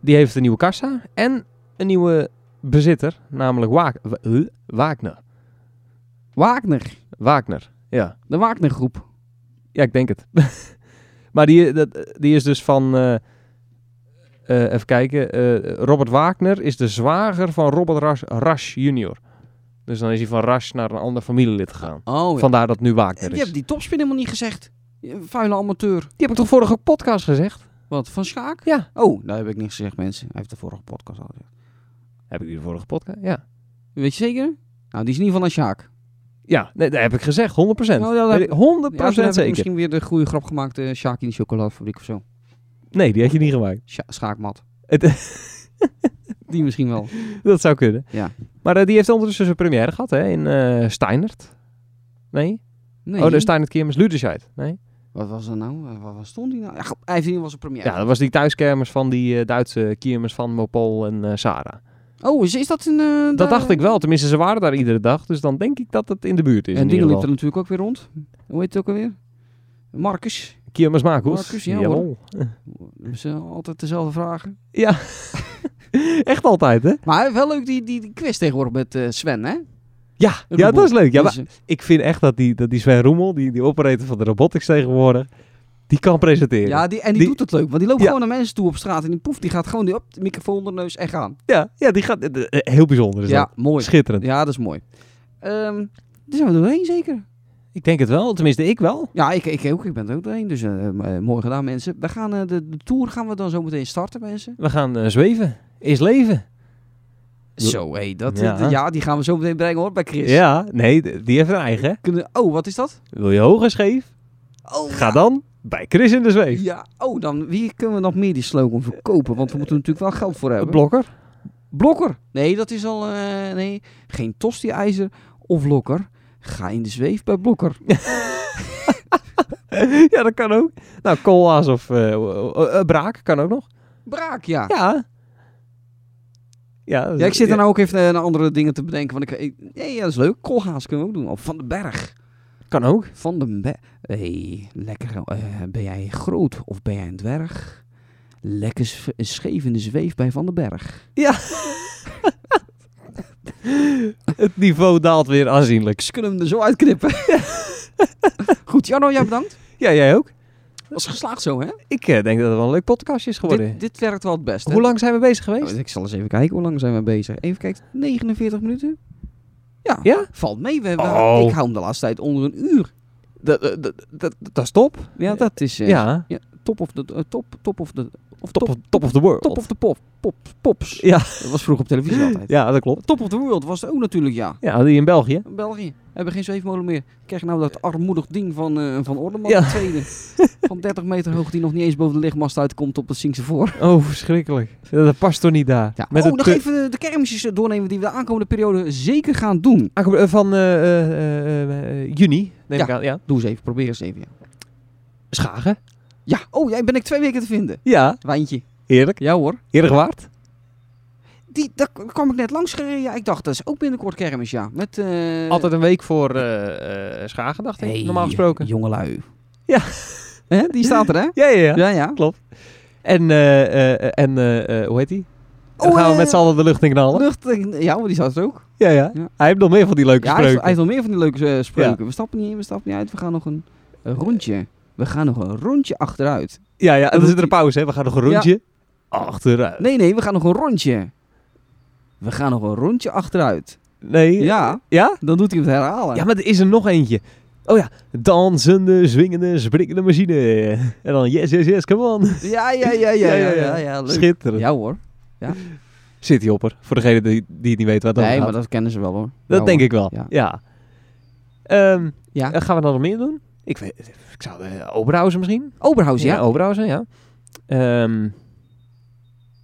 [SPEAKER 3] Die heeft een nieuwe kassa en een nieuwe bezitter, namelijk Waak- Wa- huh? Wagner.
[SPEAKER 4] Wagner.
[SPEAKER 3] Wagner, ja.
[SPEAKER 4] De Wagner groep.
[SPEAKER 3] Ja, ik denk het. maar die, eh, dat, die is dus van. eh, eh, even kijken. eh, Robert Wagner is de zwager van Robert Ras, Ras junior. Dus dan is hij van Ras naar een ander familielid gegaan.
[SPEAKER 4] Oh ja.
[SPEAKER 3] Vandaar dat het nu Wagner
[SPEAKER 4] En
[SPEAKER 3] is.
[SPEAKER 4] je hebt die topspin helemaal niet gezegd. Je Vuile amateur.
[SPEAKER 3] Die heb ik toch vorige podcast gezegd?
[SPEAKER 4] Wat, van Schaak?
[SPEAKER 3] Ja.
[SPEAKER 4] Oh, daar heb ik niks gezegd, mensen. Hij heeft de vorige podcast al gezegd.
[SPEAKER 3] Heb ik die de vorige podcast? Ja.
[SPEAKER 4] Weet je zeker? Nou, die is in ieder geval aan Sjaak.
[SPEAKER 3] Ja, nee, dat heb ik gezegd. 100%.
[SPEAKER 4] Nou, dat heb-
[SPEAKER 3] Weet ik- 100%
[SPEAKER 4] Ja, toen heb ik
[SPEAKER 3] zeker.
[SPEAKER 4] misschien weer de goede grap gemaakt. eh Sjaak in de chocoladefabriek of zo.
[SPEAKER 3] Nee, die had je niet gemaakt.
[SPEAKER 4] Sja- schaakmat.
[SPEAKER 3] Het-
[SPEAKER 4] Die misschien wel.
[SPEAKER 3] dat zou kunnen.
[SPEAKER 4] Ja.
[SPEAKER 3] Maar eh, die heeft ondertussen zijn première gehad hè, in eh Steinert. Nee?
[SPEAKER 4] Nee.
[SPEAKER 3] Oh, de Steinert Kermis Ludersheid. Nee?
[SPEAKER 4] Wat was dat nou? Eh, Waar, waar stond die nou? Ja, goed, hij heeft in ieder geval zijn première.
[SPEAKER 3] Ja, dat was die thuiskermis van die eh, Duitse kermis van Mopol en eh Sarah.
[SPEAKER 4] Oh, is, is dat een... eh, daar-
[SPEAKER 3] Dat dacht ik wel. Tenminste, ze waren daar iedere dag. Dus dan denk ik dat het in de buurt is.
[SPEAKER 4] En
[SPEAKER 3] in
[SPEAKER 4] die
[SPEAKER 3] ieder
[SPEAKER 4] liep er
[SPEAKER 3] geval.
[SPEAKER 4] natuurlijk ook weer rond. Hoe heet het ook alweer? Marcus.
[SPEAKER 3] Kermis Makels.
[SPEAKER 4] Marcus, ja,
[SPEAKER 3] Jawel.
[SPEAKER 4] Dat zijn altijd dezelfde vragen.
[SPEAKER 3] Ja. Echt altijd, hè?
[SPEAKER 4] Maar hij heeft wel leuk die, die, die quiz tegenwoordig met eh, Sven, hè?
[SPEAKER 3] Ja, ja dat is leuk. Ja,
[SPEAKER 4] Dus,
[SPEAKER 3] maar ik vind echt dat die, dat die Sven Roemel, die, die operator van de robotics tegenwoordig, die kan presenteren.
[SPEAKER 4] eh, Ja, die, en die,
[SPEAKER 3] Die-
[SPEAKER 4] doet het leuk. Want die loopt
[SPEAKER 3] Ja.
[SPEAKER 4] gewoon naar mensen toe op straat. En die poef, die gaat gewoon die op de microfoon onder de neus en gaan.
[SPEAKER 3] ja, ja, die gaat... eh, eh, Heel bijzonder is
[SPEAKER 4] ja,
[SPEAKER 3] dat.
[SPEAKER 4] mooi.
[SPEAKER 3] Schitterend.
[SPEAKER 4] Ja, dat is mooi. Ehm daar zijn we doorheen zeker.
[SPEAKER 3] Ik denk het wel. Tenminste, ik wel.
[SPEAKER 4] Ja, ik, ik ook. Ik ben er ook doorheen. Dus eh, eh, mooi gedaan mensen. We gaan eh, de, de tour gaan we dan zo meteen starten mensen.
[SPEAKER 3] We gaan eh, zweven. Is leven.
[SPEAKER 4] Zo, hé. dat eh,
[SPEAKER 3] Ja.
[SPEAKER 4] ja. ja, die gaan we zo meteen brengen hoor bij Chris.
[SPEAKER 3] Ja, nee, d- die heeft een eigen. hè.
[SPEAKER 4] Kunnen, oh, wat is dat?
[SPEAKER 3] Wil je hoger scheef?
[SPEAKER 4] Oh,
[SPEAKER 3] Ga dan bij Chris in de zweef.
[SPEAKER 4] Ja, oh, dan wie kunnen we nog meer die slogan verkopen? Want we moeten er natuurlijk wel geld voor hebben.
[SPEAKER 3] blokker.
[SPEAKER 4] blokker. Nee, dat is al. eh, nee, geen tosti-ijzer of lokker. Ga in de zweef bij blokker.
[SPEAKER 3] ja, dat kan ook. Nou, koolhaas of eh, eh, eh, braak kan ook nog.
[SPEAKER 4] Braak, ja.
[SPEAKER 3] Ja. Dus, Ja, dat is-
[SPEAKER 4] Ja, ik zit er nou ook even eh, naar andere dingen te bedenken. Want ik, ik- nee, ja, dat is leuk. Koolhaas kunnen we ook doen. Of Van den Berg.
[SPEAKER 3] nou- Kan ook.
[SPEAKER 4] Van den Berg. hey, lekker. eh, ben jij groot of ben jij een dwerg? Lekker s- scheef in de zweef bij Van den Berg.
[SPEAKER 3] Het niveau daalt weer aanzienlijk.
[SPEAKER 4] Ze kunnen hem er zo uitknippen. Goed, Jarno, jij bedankt.
[SPEAKER 3] Ja, jij ook?
[SPEAKER 4] Dat is geslaagd zo, hè?
[SPEAKER 3] Ik eh, denk dat het wel een leuk podcastje is geworden.
[SPEAKER 4] Dit, dit werkt wel het best. hè?
[SPEAKER 3] Hoe lang zijn we bezig geweest?
[SPEAKER 4] Nou, ik zal eens even kijken hoe lang zijn we bezig. Even kijken, 49 minuten? Ja,
[SPEAKER 3] Ja?
[SPEAKER 4] valt mee. We, we-
[SPEAKER 3] Oh.
[SPEAKER 4] Ik hou hem de laatste tijd onder een uur.
[SPEAKER 3] Dat, dat, dat, dat- dat is top.
[SPEAKER 4] Ja, dat is eh,
[SPEAKER 3] Ja.
[SPEAKER 4] top of de top, top of de of
[SPEAKER 3] Top,
[SPEAKER 4] top,
[SPEAKER 3] of, top of the world.
[SPEAKER 4] top of the pop, pop, pops.
[SPEAKER 3] Ja.
[SPEAKER 4] dat was vroeger op televisie altijd.
[SPEAKER 3] Ja, dat klopt.
[SPEAKER 4] Top of the world was het ook natuurlijk, ja.
[SPEAKER 3] Ja, die in België.
[SPEAKER 4] België hebben geen zweefmolen meer. Krijg nou dat armoedig ding van eh van Ordeman
[SPEAKER 3] Ja.
[SPEAKER 4] de tweede. Van 30 meter hoog die nog niet eens boven de lichtmast uitkomt op het Sinkse voor.
[SPEAKER 3] Oh, verschrikkelijk. Ja, dat past toch niet daar.
[SPEAKER 4] Ja.
[SPEAKER 3] Met
[SPEAKER 4] oh,
[SPEAKER 3] een
[SPEAKER 4] nog
[SPEAKER 3] te-
[SPEAKER 4] even de, de kermisjes eh, doornemen die we de aankomende periode zeker gaan doen.
[SPEAKER 3] Aange- eh, Van eh, eh, eh, eh, eh, juni, neem
[SPEAKER 4] Ja.
[SPEAKER 3] ik aan. Ja.
[SPEAKER 4] Doe eens even, probeer eens even. Ja.
[SPEAKER 3] Schagen.
[SPEAKER 4] Ja, oh, jij ben ik twee weken te vinden.
[SPEAKER 3] Ja,
[SPEAKER 4] Wijntje.
[SPEAKER 3] eerlijk.
[SPEAKER 4] Ja hoor.
[SPEAKER 3] Eerlijk waard.
[SPEAKER 4] Die, daar k- kwam ik net langs gereden. Ja, ik dacht, dat is ook binnenkort kermis, ja. Met, eh,
[SPEAKER 3] Altijd een week voor eh, eh, Schagen, dacht ik,
[SPEAKER 4] Hey,
[SPEAKER 3] normaal gesproken.
[SPEAKER 4] Jongelui.
[SPEAKER 3] Ja.
[SPEAKER 4] Hè, die staat er, hè?
[SPEAKER 3] Ja, ja, ja.
[SPEAKER 4] Ja, ja.
[SPEAKER 3] En, eh, eh, eh, en eh, eh, hoe heet die? Dan
[SPEAKER 4] Oh,
[SPEAKER 3] gaan we
[SPEAKER 4] eh,
[SPEAKER 3] met z'n allen de lucht in knallen.
[SPEAKER 4] Lucht, eh, ja, maar die staat er ook.
[SPEAKER 3] Ja, ja,
[SPEAKER 4] Ja.
[SPEAKER 3] Hij heeft nog meer van die leuke
[SPEAKER 4] Ja, hij, heeft,
[SPEAKER 3] spreuken.
[SPEAKER 4] hij heeft nog meer van die leuke eh, spreuken. We stappen niet in, we stappen niet uit. We gaan nog een een rondje. We gaan nog een rondje achteruit.
[SPEAKER 3] Ja, ja. En dan
[SPEAKER 4] doet
[SPEAKER 3] zit er een pauze, hè. We gaan nog een
[SPEAKER 4] Ja.
[SPEAKER 3] rondje achteruit.
[SPEAKER 4] Nee, nee, we gaan nog een rondje. We gaan nog een rondje achteruit.
[SPEAKER 3] Nee.
[SPEAKER 4] Ja.
[SPEAKER 3] Ja?
[SPEAKER 4] Dan doet hij het herhalen.
[SPEAKER 3] Ja, maar er is er nog eentje. Oh ja, dansende, zwingende, springende machine. En dan yes, yes, yes, come on.
[SPEAKER 4] ja, ja, ja, ja, ja, ja, ja, leuk.
[SPEAKER 3] Schitterend.
[SPEAKER 4] Ja hoor.
[SPEAKER 3] City Hopper, voor degene die, die het niet weet waar dat
[SPEAKER 4] nee,
[SPEAKER 3] gaat.
[SPEAKER 4] maar dat kennen ze wel hoor.
[SPEAKER 3] Dat
[SPEAKER 4] Ja,
[SPEAKER 3] denk
[SPEAKER 4] hoor.
[SPEAKER 3] ik wel,
[SPEAKER 4] Ja.
[SPEAKER 3] ja. Ehm,
[SPEAKER 4] Ja.
[SPEAKER 3] eh, gaan we dan nog meer doen? Ik, weet, ik zou eh, Oberhausen misschien?
[SPEAKER 4] Oberhausen, ja. oh.
[SPEAKER 3] Oberhausen, Oh, ja. Ehm,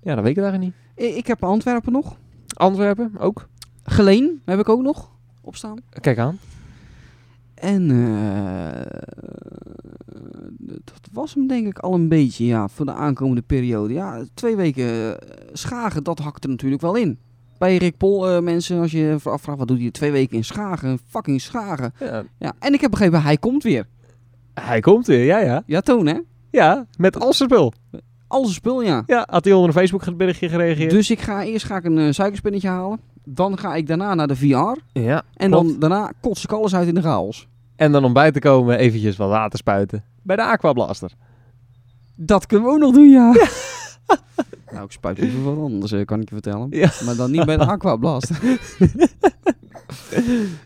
[SPEAKER 3] ja, dat weet ik eigenlijk niet.
[SPEAKER 4] I- Ik heb Antwerpen nog.
[SPEAKER 3] Antwerpen ook.
[SPEAKER 4] Geleen heb ik ook nog opstaan.
[SPEAKER 3] Kijk aan.
[SPEAKER 4] En eh, dat was hem denk ik al een beetje, ja, voor de aankomende periode. Ja, twee weken eh, Schagen, dat hakt er natuurlijk wel in. Bij Rick Pol, eh, mensen, als je je afvraagt, wat doet hij twee weken in Schagen? Fucking Schagen.
[SPEAKER 3] Ja,
[SPEAKER 4] Ja, en ik heb begrepen, hij komt weer.
[SPEAKER 3] hij komt weer, ja, ja.
[SPEAKER 4] Ja, Toon, hè?
[SPEAKER 3] Ja, met al zijn spul.
[SPEAKER 4] Alles spul, ja.
[SPEAKER 3] Ja, had hij onder een Facebook berichtje gereageerd.
[SPEAKER 4] Dus ik ga eerst ga ik een eh, suikerspinnetje halen. Dan ga ik daarna naar de VR.
[SPEAKER 3] ja,
[SPEAKER 4] En
[SPEAKER 3] klopt.
[SPEAKER 4] dan daarna kots ik alles uit in de chaos.
[SPEAKER 3] En dan om bij te komen eventjes wat water spuiten. Bij de Aquablaster.
[SPEAKER 4] Dat kunnen we ook nog doen, ja. nou, ik spuit liever wat anders, eh, kan ik je vertellen.
[SPEAKER 3] Ja.
[SPEAKER 4] Maar dan niet bij de aquablast.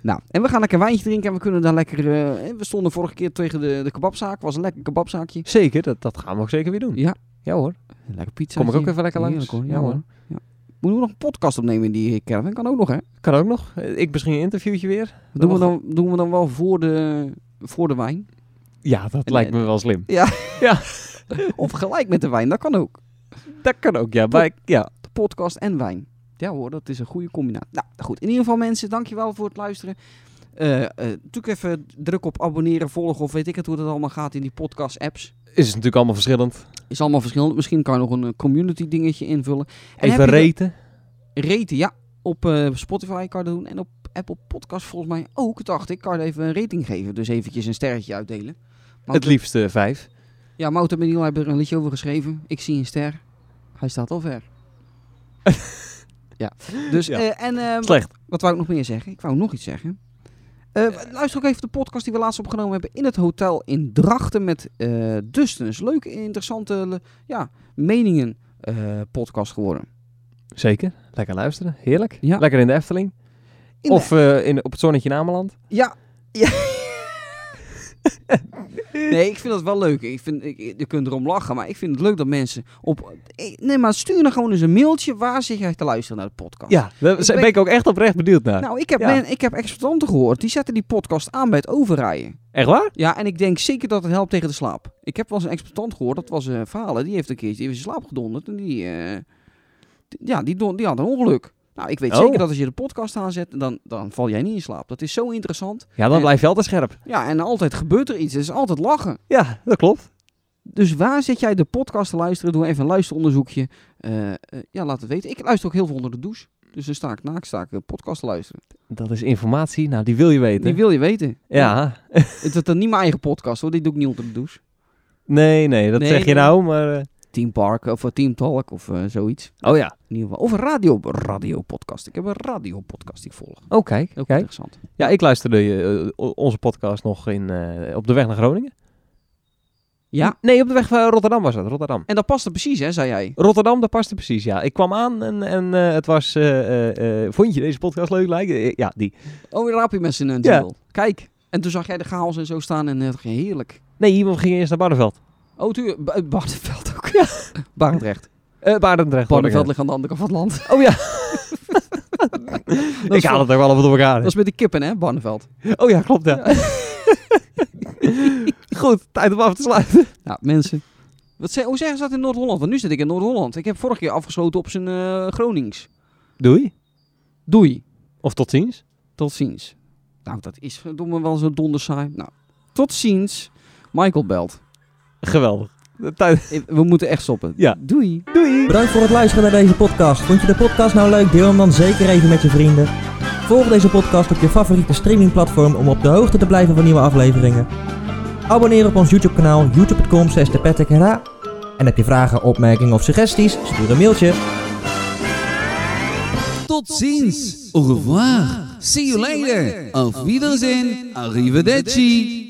[SPEAKER 4] nou, en we gaan lekker wijntje drinken en we kunnen daar lekker... eh, eh, we stonden vorige keer tegen de, de kebabzaak. was een lekker kebabzaakje.
[SPEAKER 3] Zeker, dat, dat gaan we ook zeker weer doen.
[SPEAKER 4] Ja,
[SPEAKER 3] Ja hoor.
[SPEAKER 4] lekker pizza.
[SPEAKER 3] Kom ik ook even lekker langs.
[SPEAKER 4] Ja, hoor. Ja. Moeten we nog een podcast opnemen in die eh, caravan? Kan ook nog, hè?
[SPEAKER 3] Kan ook nog. Eh, Ik misschien een interviewtje weer.
[SPEAKER 4] Dat doen we, dan, doen we dan wel voor de, voor de wijn?
[SPEAKER 3] Ja, dat
[SPEAKER 4] En-
[SPEAKER 3] lijkt me wel slim.
[SPEAKER 4] Of gelijk met de wijn, dat kan ook.
[SPEAKER 3] Dat kan ook, ja. Bij, ja.
[SPEAKER 4] De podcast en wijn. Ja hoor, dat is een goede combinatie. Nou, goed. In ieder geval mensen, dankjewel voor het luisteren. Eh eh natuurlijk even druk op abonneren, volgen of weet ik het hoe dat allemaal gaat in die podcast apps.
[SPEAKER 3] Is het natuurlijk allemaal verschillend.
[SPEAKER 4] Is allemaal verschillend. Misschien kan je nog een eh, community dingetje invullen. En
[SPEAKER 3] Even
[SPEAKER 4] heb je de-
[SPEAKER 3] reten.
[SPEAKER 4] Raten, ja. Op eh, Spotify kan je dat doen en op Apple Podcast volgens mij ook, dacht ik. Kan je even een rating geven, dus eventjes een sterretje uitdelen. Maar
[SPEAKER 3] Het liefste vijf.
[SPEAKER 4] Ja, Mout en Meniel hebben er een liedje over geschreven. Ik zie een ster. Hij staat al ver. ja. Dus,
[SPEAKER 3] Ja.
[SPEAKER 4] eh, en eh,
[SPEAKER 3] Slecht.
[SPEAKER 4] wat wou ik nog meer zeggen? Ik wou nog iets zeggen. Eh, luister ook even de podcast die we laatst opgenomen hebben in het hotel in Drachten met eh Dustens. Leuke, interessante le- ja, meningen eh, podcast geworden.
[SPEAKER 3] Zeker. Lekker luisteren. Heerlijk.
[SPEAKER 4] Ja.
[SPEAKER 3] Lekker in de Efteling.
[SPEAKER 4] In de-
[SPEAKER 3] of eh, in, op het zonnetje in Ameland.
[SPEAKER 4] Ja. ja. Nee, ik vind dat wel leuk. Ik vind, ik, je kunt erom lachen, maar ik vind het leuk dat mensen op... eh, Nee, maar stuur dan gewoon eens een mailtje waar zit jij te luisteren naar de podcast.
[SPEAKER 3] Ja, daar
[SPEAKER 4] Ik
[SPEAKER 3] ben,
[SPEAKER 4] ben-
[SPEAKER 3] ik ook echt oprecht benieuwd naar.
[SPEAKER 4] Nou, ik heb,
[SPEAKER 3] Ja.
[SPEAKER 4] men- ik heb exploitanten gehoord, die zetten die podcast aan bij het overrijden.
[SPEAKER 3] echt waar?
[SPEAKER 4] Ja, en ik denk zeker dat het helpt tegen de slaap. Ik heb wel eens een exploitant gehoord, dat was eh Valen, die heeft een keertje even in slaap gedonderd en die, eh, die- ja, die, don- die had een ongeluk. Nou, ik weet
[SPEAKER 3] Oh.
[SPEAKER 4] zeker dat als je de podcast aanzet, dan, dan val jij niet in slaap. Dat is zo interessant.
[SPEAKER 3] Ja, dan
[SPEAKER 4] Nee.
[SPEAKER 3] blijf je altijd scherp.
[SPEAKER 4] Ja, en altijd gebeurt er iets. Het is altijd lachen.
[SPEAKER 3] Ja, dat klopt.
[SPEAKER 4] Dus waar zit jij de podcast te luisteren? Doe even een luisteronderzoekje. Eh, eh, ja, laat het weten. Ik luister ook heel veel onder de douche. Dus dan sta ik naakt, sta ik eh, podcast te luisteren.
[SPEAKER 3] Dat is informatie. Nou, die wil je weten.
[SPEAKER 4] Die wil je weten.
[SPEAKER 3] Ja.
[SPEAKER 4] Het is dan niet mijn eigen podcast hoor. Die doe ik niet onder de douche.
[SPEAKER 3] Nee, nee, dat
[SPEAKER 4] Nee,
[SPEAKER 3] zeg je
[SPEAKER 4] nee.
[SPEAKER 3] nou, maar... eh,
[SPEAKER 4] Team Park of eh, Team Talk of eh, zoiets.
[SPEAKER 3] Oh ja.
[SPEAKER 4] In ieder geval. Of een radio, radiopodcast. Ik heb een radiopodcast die ik volg.
[SPEAKER 3] Oh, kijk.
[SPEAKER 4] Ook
[SPEAKER 3] kijk.
[SPEAKER 4] interessant.
[SPEAKER 3] Ja, ik luisterde eh, o- onze podcast nog in, eh, op de weg naar Groningen.
[SPEAKER 4] Ja.
[SPEAKER 3] Nee, op de weg naar Rotterdam was dat. Rotterdam.
[SPEAKER 4] En dat past er precies hè, zei jij.
[SPEAKER 3] Rotterdam, dat paste precies, ja. Ik kwam aan en, en eh, het was... eh, eh, eh, vond je deze podcast leuk lijken? Eh, ja, die.
[SPEAKER 4] Oh, een rapje met z'n eh,
[SPEAKER 3] Ja.
[SPEAKER 4] jingle. Kijk. En toen zag jij de chaos en zo staan en het ging heerlijk.
[SPEAKER 3] Nee, we gingen eerst naar Barneveld.
[SPEAKER 4] Oh, tuurlijk. Ba- Barneveld ook. Ja. Barendrecht.
[SPEAKER 3] Eh Barendrecht.
[SPEAKER 4] Barneveld
[SPEAKER 3] hoor
[SPEAKER 4] ligt aan de andere kant van het land.
[SPEAKER 3] ik. Oh ja.
[SPEAKER 4] Dat is
[SPEAKER 3] ik haal
[SPEAKER 4] wel-
[SPEAKER 3] het nog wel allemaal door elkaar.
[SPEAKER 4] Dat is met de kippen, hè, Barneveld.
[SPEAKER 3] Oh ja, klopt ja. Goed, tijd om af te sluiten.
[SPEAKER 4] Nou, mensen. Wat ze- hoe zeggen ze dat in Noord-Holland? Want nu zit ik in Noord-Holland. Ik heb vorige keer afgesloten op zijn eh, Gronings.
[SPEAKER 3] Doei.
[SPEAKER 4] Doei.
[SPEAKER 3] Of tot ziens.
[SPEAKER 4] Tot ziens. Nou, dat is verdomme wel zo dondersaai. Nou, tot ziens. Michael belt.
[SPEAKER 3] Geweldig. Tijd.
[SPEAKER 4] Eh, We moeten echt stoppen.
[SPEAKER 3] Ja.
[SPEAKER 4] Doei.
[SPEAKER 3] Doei.
[SPEAKER 2] Bedankt voor het luisteren naar deze podcast. Vond je de podcast nou leuk? Deel hem dan zeker even met je vrienden. Volg deze podcast op je favoriete streamingplatform om op de hoogte te blijven van nieuwe afleveringen. Abonneer op ons YouTube kanaal youtube.com thepettekera. En heb je vragen, opmerkingen of suggesties? Stuur een mailtje.
[SPEAKER 6] Tot ziens. Au revoir. See you later. Auf Wiedersehen. Arrivederci.